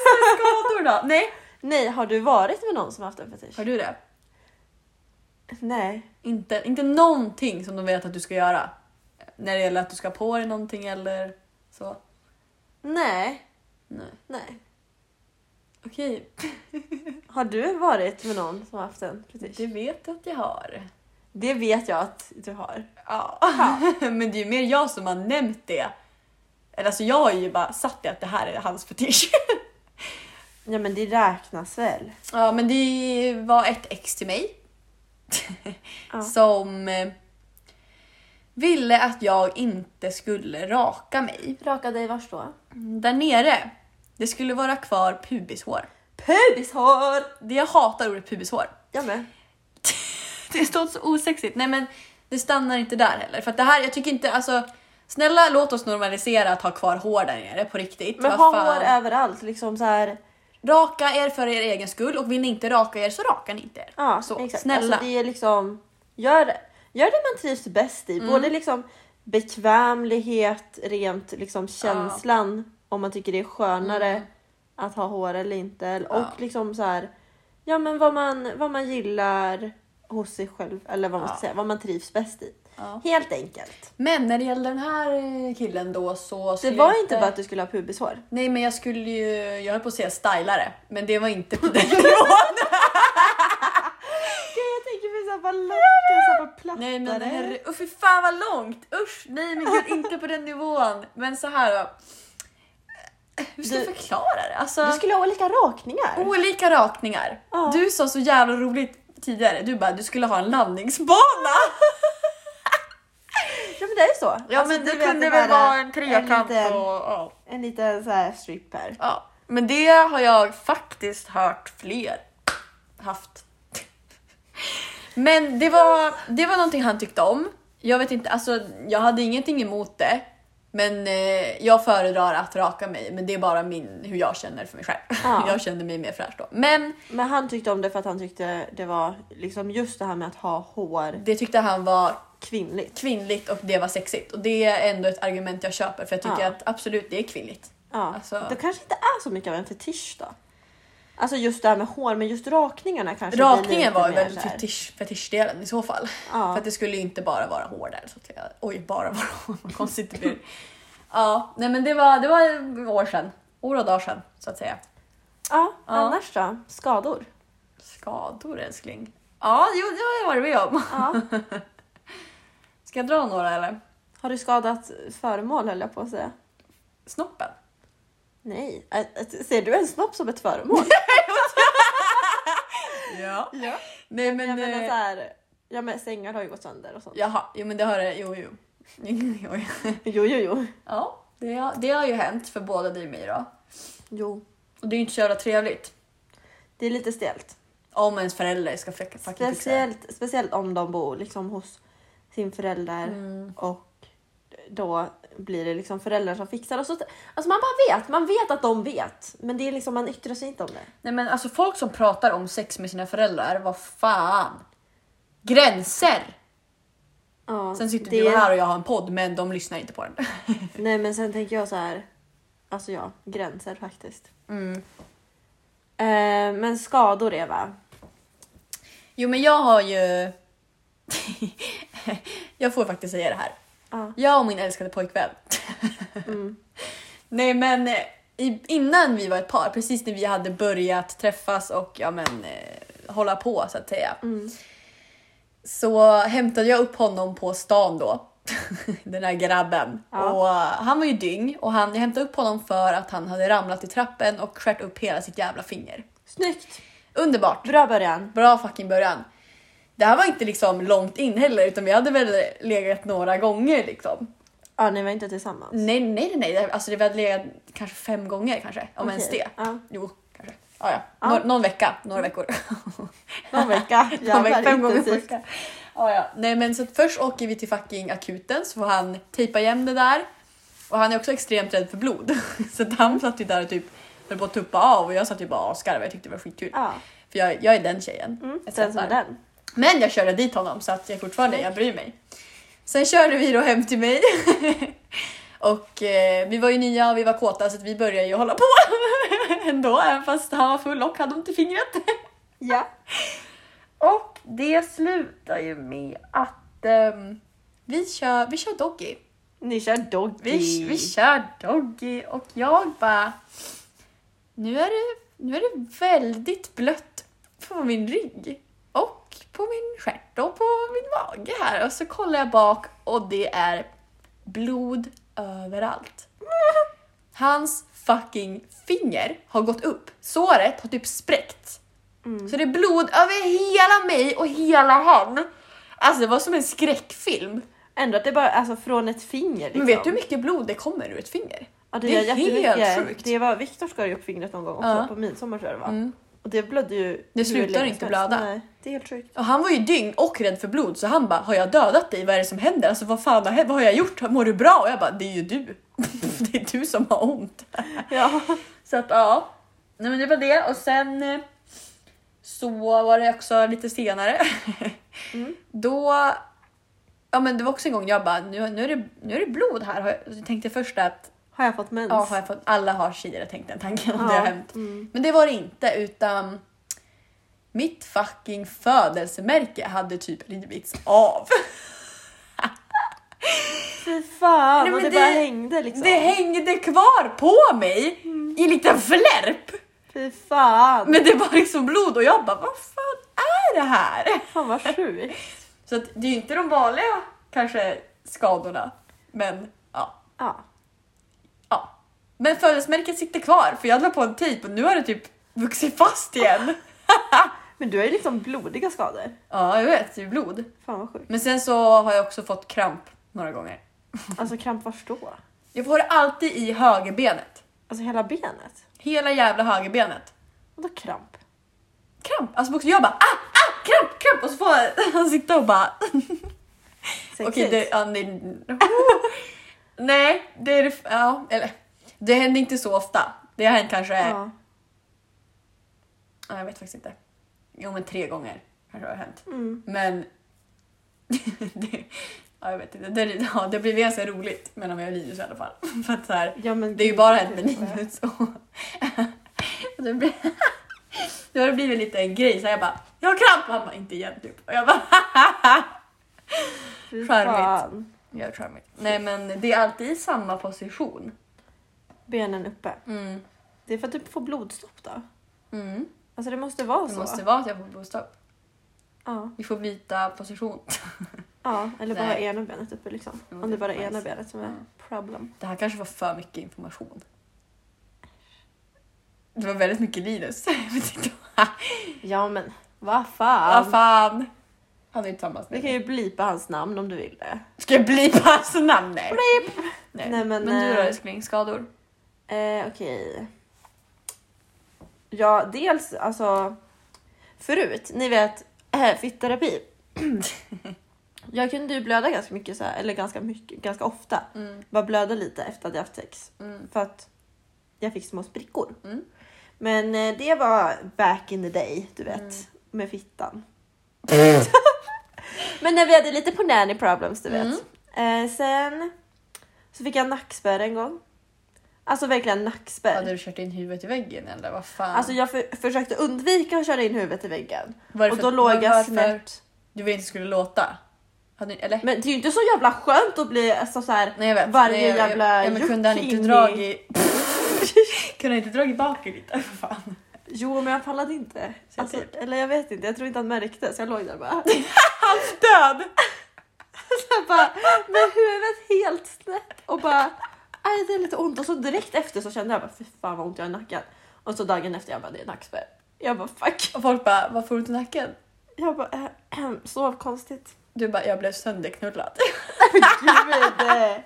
S4: Skador då? Nej.
S1: nej, har du varit med någon som har haft en fetisch?
S4: Har du det?
S1: Nej.
S4: Inte, inte någonting som de vet att du ska göra. När det gäller att du ska ha på dig någonting eller så.
S1: Nej.
S4: Nej.
S1: Nej.
S4: Okej,
S1: Har du varit med någon som har haft en fetisch?
S4: det vet jag att jag har.
S1: Det vet jag att du har.
S4: Ja. *laughs* Men det är ju mer jag som har nämnt det. Eller alltså jag har ju bara satt det att det här är hans fetisch. *laughs*
S1: Ja men det räknas väl?
S4: Ja men det var ett ex till *laughs* mig.
S1: Ja.
S4: Som eh, ville att jag inte skulle raka mig.
S1: Raka dig vars då?
S4: Där nere, det skulle vara kvar pubishår.
S1: Pubishår!
S4: Det jag hatar ordet pubishår.
S1: Jag med.
S4: *laughs* Det står så osexigt. Nej men det stannar inte där heller. För att det här, jag tycker inte, alltså snälla låt oss normalisera att ha kvar hår där nere på riktigt.
S1: Men
S4: Vad
S1: ha
S4: fan.
S1: hår överallt. Liksom så här,
S4: Raka er för er egen skull och vill ni inte raka er så rakar ni inte er.
S1: ja,
S4: Så,
S1: exakt.
S4: snälla.
S1: Alltså, det är liksom, gör, gör det man trivs bäst i. Både liksom bekvämlighet, rent liksom känslan om man tycker det är skönare att ha hår eller inte. Och liksom så här, ja men vad man, vad man gillar hos sig själv eller vad man ska säga, vad man trivs bäst i. Helt enkelt.
S4: Men när det gäller den här eh, killen då så...
S1: Det
S4: skulle
S1: var
S4: jag
S1: inte bara att du skulle ha pubishår.
S4: Nej men jag skulle ju, jag höll på att säga stylare, men det var inte på den *laughs* nivån.
S1: Jag tänker mig såhär bara locken, såhär bara
S4: Nej men
S1: plattare.
S4: herre, oh, fy fan vad långt! Usch, nej men gud inte på den nivån. Men så här då. Eh, Hur ska jag förklara det? Alltså,
S1: Du skulle ha olika rakningar.
S4: olika rakningar.
S1: Ja.
S4: Du sa så jävla roligt tidigare, du bara du skulle ha en landningsbana.
S1: Ja men det är ju så.
S4: Ja
S1: Alltså,
S4: men det
S1: vet,
S4: kunde
S1: här,
S4: väl vara en
S1: En
S4: trekant och...
S1: liten,
S4: Ja.
S1: en liten så här stripper.
S4: Ja, men det har jag faktiskt hört fler haft. Men det var, det var någonting han tyckte om. Jag vet inte, alltså jag hade ingenting emot det. Men eh, jag föredrar att raka mig, men det är bara min, hur jag känner för mig själv.
S1: Ja.
S4: Jag känner mig mer fräsch då. Men
S1: Men han tyckte om det för att han tyckte det var liksom just det här med att ha hår
S4: det tyckte han var
S1: kvinnligt.
S4: kvinnligt och det var sexigt. Och det är ändå ett argument jag köper för jag tycker
S1: Ja.
S4: att absolut det är kvinnligt.
S1: Ja.
S4: Alltså-
S1: Det kanske inte är så mycket av en fetisch då. Alltså just det här med hår men just rakningarna kanske blir
S4: Rakningen
S1: lite
S4: var ju
S1: mer
S4: väl
S1: så här.
S4: fetisch, fetischdelen i så fall.
S1: Ja.
S4: För att det skulle ju inte bara vara hår där. Så att jag, oj, bara vara *laughs* hår. Vad konstigt det
S1: *laughs*
S4: blir. Ja, nej men det var, det var år sedan. År och dagar sedan så att säga.
S1: Ja, annars då? Skador?
S4: Skador älskling. Ja, jo, det har jag varit med om.
S1: Ja.
S4: *laughs* Ska jag dra några eller?
S1: Har du skadat föremål höll jag på att säga.
S4: Snoppen.
S1: Nej, Ä- ä- ser du en snopp som ett *laughs* föremål?
S4: Ja. Nej men...
S1: Jag menar
S4: eh,
S1: så här, ja men sängar har ju gått sönder och sånt.
S4: Jaha, jo men det har det. Jo, *laughs* jo. Oj.
S1: Jo, jo, jo.
S4: ja, det har, det har ju hänt för båda dig och mig då.
S1: Jo,
S4: Och det är ju inte så jävla trevligt.
S1: det är lite stelt.
S4: Om ens förälder ska fucking fixa det.
S1: Speciellt, speciellt om de bor liksom hos sin förälder och då blir det liksom föräldrar som fixar. Och så, alltså man bara vet, man vet att de vet. Men det är liksom, man yttrar sig inte om det.
S4: Nej men alltså folk som pratar om sex med sina föräldrar, vad fan! Gränser!
S1: Ja,
S4: Sen sitter
S1: det-
S4: du här och jag har en podd men de lyssnar inte på den. *laughs*
S1: Nej men sen tänker jag så här. Alltså ja, gränser faktiskt.
S4: Mm.
S1: Eh, men skador Eva.
S4: Jo men jag har ju... *laughs* jag får faktiskt säga det här.
S1: Ja.
S4: Jag och min älskade pojkvän. *laughs* Nej men eh, i, innan vi var ett par, precis när vi hade börjat träffas och ja men eh, hålla på så att säga. Så hämtade jag upp honom på stan då. *laughs* Den här grabben. Och eh, han var ju dyng och han, jag hämtade upp honom för att han hade ramlat i trappen och skärt upp hela sitt jävla finger.
S1: Snyggt!
S4: Underbart!
S1: Bra början.
S4: Bra fucking början. Det här var inte liksom långt in heller utan vi hade väl legat några gånger liksom.
S1: Ja, ni var inte tillsammans.
S4: Nej, nej, nej, nej. Alltså det vi hade legat kanske fem gånger kanske, om
S1: Okej,
S4: ens det.
S1: ja. Mm.
S4: Jo, kanske. Ja, ja. Nå- någon vecka, några veckor.
S1: *laughs* Någon vecka.
S4: *laughs* någon vecka,
S1: Jävlar,
S4: fem gånger per
S1: intensivt.
S4: vecka. Ja, ja. Nej, men så att först åker vi till fucking akuten så får han tejpa igen det där. Och han är också extremt rädd för blod. *laughs* Så att
S1: Mm.
S4: han satt ju där och typ höll på att tuppa av och jag satt ju bara och asgarvade. Jag tyckte det var skitkul.
S1: Ja.
S4: För jag, jag är den tjejen.
S1: Mm,
S4: Jag
S1: den som
S4: skrattar.
S1: den.
S4: Men jag körde dit honom så att jag fortfarande jag bryr mig. Sen körde vi då hem till mig. *laughs* och eh, vi var ju nya och vi var kåta så att vi började ju hålla på *laughs* ändå. Även fast han var full och hade ont i fingret.
S1: Ja.
S4: och det slutar ju med att *laughs* ehm, vi, kör, vi kör doggy.
S1: Ni kör doggy.
S4: Vi, vi kör doggy och jag bara... Nu är, det, nu är det väldigt blött på min rygg och på min stjärt och på min mage här. Och så kollar jag bak och det är blod överallt. Hans fucking finger har gått upp. Såret har typ spräckt. Så det är blod över hela mig och hela han. Alltså det var som en skräckfilm.
S1: Ändå att det bara alltså från ett finger. Liksom.
S4: Men vet du hur mycket blod det kommer ur ett finger?
S1: Ja, det,
S4: det är
S1: gör jättemycket.
S4: helt sjukt.
S1: Det var Viktor skar ju upp fingret någon gång också
S4: Ja. Mm.
S1: på midsommar tror jag det var. Och det blödde ju. hur
S4: slutar
S1: länge
S4: inte
S1: som helst.
S4: blöda.
S1: Nej. Det är
S4: *laughs*
S1: helt sjukt.
S4: Och han var ju dyng och rädd för blod så han bara har jag dödat dig? Vad är det som händer? Alltså vad fan har hänt? Vad har jag gjort? Mår du bra? Och jag bara det är ju du. *laughs* det är du som har ont.
S1: Ja.
S4: Så att ja. Nej men det var det och sen eh, så var det också lite senare. *laughs* Då, ja men det var också en gång jag bara nu, nu, är, det, nu är det blod här. Har jag- Jag tänkte först att
S1: Har jag fått mens?
S4: ja, har jag fått, alla har tidigare tänkt den tanken om
S1: Ja.
S4: det har hänt. Men det var det inte utan mitt fucking födelsemärke hade typ rivits av.
S1: Fy fan
S4: Nej,
S1: och
S4: men
S1: det,
S4: det-
S1: bara hängde liksom.
S4: Det hängde kvar på mig i en liten flärp.
S1: Fy fan.
S4: Men det var liksom blod och jag bara vad fan är det här?
S1: Fan vad sjukt.
S4: Så att det är ju inte de vanliga kanske skadorna. Men ja.
S1: Ja.
S4: ja. Men födelsemärket sitter kvar för jag la på en tejp och nu har det typ vuxit fast igen. *laughs*
S1: Men du har ju liksom blodiga skador.
S4: Ja, jag vet. Det är blod.
S1: Fan vad sjukt.
S4: Men sen så har jag också fått kramp några gånger. Mm.
S1: Alltså kramp var då?
S4: Jag får det alltid i högerbenet.
S1: Alltså hela benet?
S4: Hela jävla högerbenet.
S1: Vadå kramp?
S4: Kramp! Alltså också jag bara ah, ah, kramp, kramp! Och så får *laughs* han sitta och bara
S1: Sexigt.
S4: Okej, det, *laughs* ja, nej, nej, det är det, ja, eller det händer inte så ofta. Det har hänt kanske, ja.
S1: Ja.
S4: jag vet faktiskt inte. Jo men tre gånger kanske har det hänt.
S1: Mm.
S4: Men *laughs* det, ja, jag vet inte, det, ja, det blir ganska roligt mellan mig och Linus i alla fall. *laughs* För att så här,
S1: Ja, men
S4: det är ju
S1: gud,
S4: bara hänt med
S1: gud, vad jag-
S4: Linus. *laughs* Och, det blir, *laughs* då har det blivit lite en grej så här, jag bara jag har kramp och han bara inte igen typ. Och jag bara *laughs*
S1: Fy
S4: Charmigt.
S1: fan.
S4: jag är charmig. Nej men det är alltid i samma position.
S1: Benen uppe.
S4: Mm.
S1: Det är för att du får blodstopp då.
S4: Mm.
S1: Alltså det måste vara
S4: Det
S1: så.
S4: måste vara att jag får blodstopp.
S1: Ja.
S4: Vi får byta position. *laughs*
S1: ja. Eller bara
S4: Nej.
S1: ena benet uppe liksom.
S4: Jo,
S1: Om det
S4: det
S1: bara
S4: är
S1: är ena
S4: nice.
S1: benet som är problem.
S4: Det här kanske var för mycket information. Det var väldigt mycket Linus. *laughs* Jag vet inte.
S1: Ja men vad fan.
S4: Vad fan! Han är ju tillsammans
S1: Du
S4: med
S1: kan
S4: mig.
S1: ju blipa hans namn om du vill det.
S4: Ska jag bli på hans namn? Nej. Nej.
S1: Nej, men,
S4: men, du då
S1: eh,
S4: älskling, skador?
S1: Eh, Okej. Ja, dels alltså förut, ni vet äh, fitterapi. *clears throat* jag kunde ju blöda ganska mycket, så här, eller ganska mycket, ganska ofta.
S4: Mm.
S1: Bara blöda lite efter att jag haft sex.
S4: Mm.
S1: För att jag fick små sprickor.
S4: Mm.
S1: Men eh, det var back in the day, du
S4: Mm.
S1: vet. Med fittan. *laughs* Men när vi hade lite på nanny problems, du vet.
S4: Mm.
S1: Eh, sen så fick jag nackspärr en gång. Alltså verkligen nackspärr.
S4: Hade du kört in huvudet i väggen eller vad fan?
S1: Alltså jag för, försökte undvika att köra in huvudet i väggen.
S4: Varför-
S1: och då låg jag
S4: varför
S1: snett.
S4: Du vet inte skulle låta? Hade, eller?
S1: Men det är ju inte så jävla skönt att bli alltså, så här,
S4: Nej jag vet.
S1: varje
S4: Nej, jag, jag-
S1: jävla
S4: ja, men Kunde han
S1: juck
S4: inte
S1: in i- *laughs*
S4: dragit... *laughs* kunde han inte dragit bak i lite? Vad fan?
S1: Jo men jag pallade inte.
S4: Så
S1: Alltså,
S4: typ.
S1: eller jag vet inte, jag tror inte han märkte så jag låg där bara. *laughs*
S4: Död!
S1: Jag bara med huvudet helt snett och bara aj det är lite ont och så direkt efter så kände jag bara fy fan vad ont jag har i nacken. Och så dagen efter jag bara det är nackspärr. Jag bara fuck.
S4: Och folk bara, vad får du ont i nacken?
S1: Jag bara äh, sov konstigt.
S4: Du bara, jag blev sönderknullad. *laughs*
S1: Gud. eh.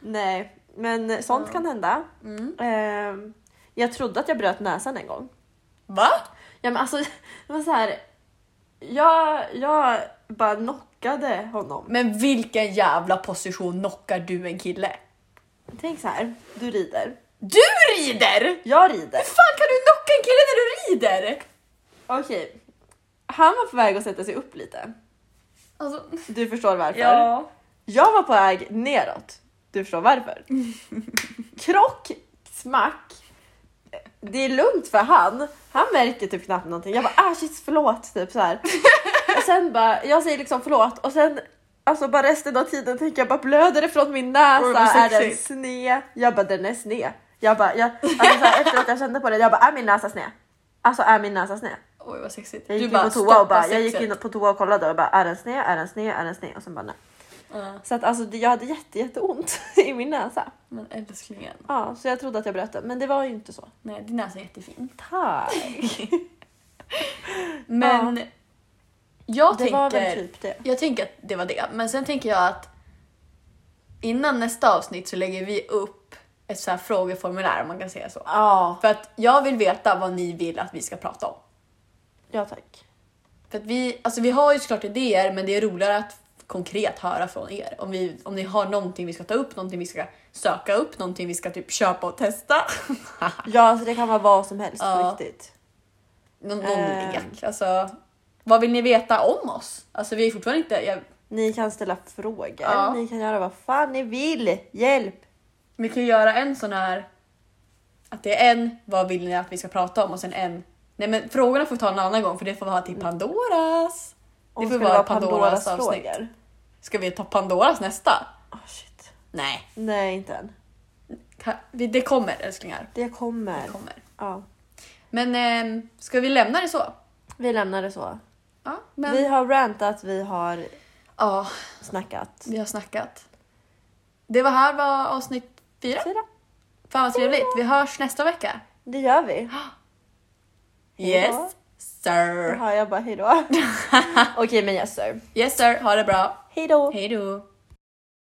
S1: Nej men sånt kan hända. Ehm, jag trodde att jag bröt näsan en gång.
S4: Va?
S1: Ja men alltså *laughs* det var så här. Jag, jag bara knockade honom.
S4: Men vilken jävla position knockar du en kille?
S1: Tänk så här, du rider.
S4: Du rider!
S1: Jag rider.
S4: Hur fan kan du knocka en kille när du rider?
S1: Okej. Han var på väg att sätta sig upp lite.
S4: Alltså,
S1: Du förstår varför.
S4: ja.
S1: Jag var på väg neråt. Du
S4: *laughs*
S1: förstår varför. Krock, smack. Det är lugnt för han. Han märker typ knappt någonting. Jag bara ah shit förlåt typ så här. Och sen bara, jag säger liksom förlåt och sen alltså bara resten av tiden tänker jag bara blöder det från min
S4: Oj,
S1: näsa?
S4: vad
S1: är den
S4: sexigt.
S1: sned? Jag bara den är sned. Jag bara, jag, alltså, så här, efter att jag kände på det, jag bara är min näsa sned? Alltså är min näsa sned?
S4: Oj vad sexigt.
S1: Jag gick
S4: bara,
S1: in på toa och
S4: stoppa
S1: bara, jag gick
S4: sexet.
S1: in på toa och kollade och bara är den sned, är den sned, är den sned och sen bara nej.
S4: Ja,
S1: Så att alltså det- jag hade jätte, jätteont *laughs* i min näsa.
S4: men älsklingen.
S1: Ja, så jag trodde att jag bröt den men det var ju inte så.
S4: Nej, din näsa är jättefin.
S1: Tack!
S4: Men jag
S1: Det
S4: tänker...
S1: var väl typ det.
S4: Jag tänker att det var det, men sen tänker jag att innan nästa avsnitt så lägger vi upp ett så här frågeformulär om man kan säga så.
S1: Ja,
S4: För att jag vill veta vad ni vill att vi ska prata om.
S1: ja tack.
S4: För att vi, alltså vi har ju såklart idéer men det är roligare att konkret höra från er. Om, vi, om ni har någonting vi ska ta upp, någonting vi ska söka upp, någonting vi ska typ köpa och testa. *laughs*
S1: Ja, alltså det kan vara vad som helst
S4: Ja.
S1: på riktigt.
S4: Någon, någon
S1: Ehm.
S4: lek. Alltså, vad vill ni veta om oss? Alltså vi är fortfarande inte... Jag,
S1: Ni kan ställa frågor,
S4: Ja.
S1: ni kan göra vad fan ni vill. Hjälp!
S4: vi kan ju göra en sån här... Att det är en, vad vill ni att vi ska prata om? Och sen en... Nej men frågorna får vi ta en annan gång för det får vi ha till Pandoras.
S1: Och
S4: Det
S1: ska
S4: får vara Pandoras avsnitt.
S1: frågor.
S4: Ska vi ta Pandoras nästa?
S1: Ah, shit.
S4: Nej.
S1: Nej, inte än.
S4: Ta- vi- Det kommer älsklingar.
S1: Det kommer.
S4: Det kommer.
S1: Ja.
S4: Men ehm, ska vi lämna det så?
S1: Vi lämnar det så.
S4: Ja, men...
S1: Vi har rantat, vi har
S4: ja,
S1: snackat.
S4: vi har snackat. Det var här var avsnitt fyra.
S1: Fyra.
S4: Fan vad trevligt. Vi hörs nästa vecka.
S1: Det gör vi.
S4: Yes
S1: Då
S4: sir.
S1: hör jag bara hejdå. Okej, men yes sir.
S4: Yes sir. Ha det bra.
S1: Hejdå!
S4: Hej då.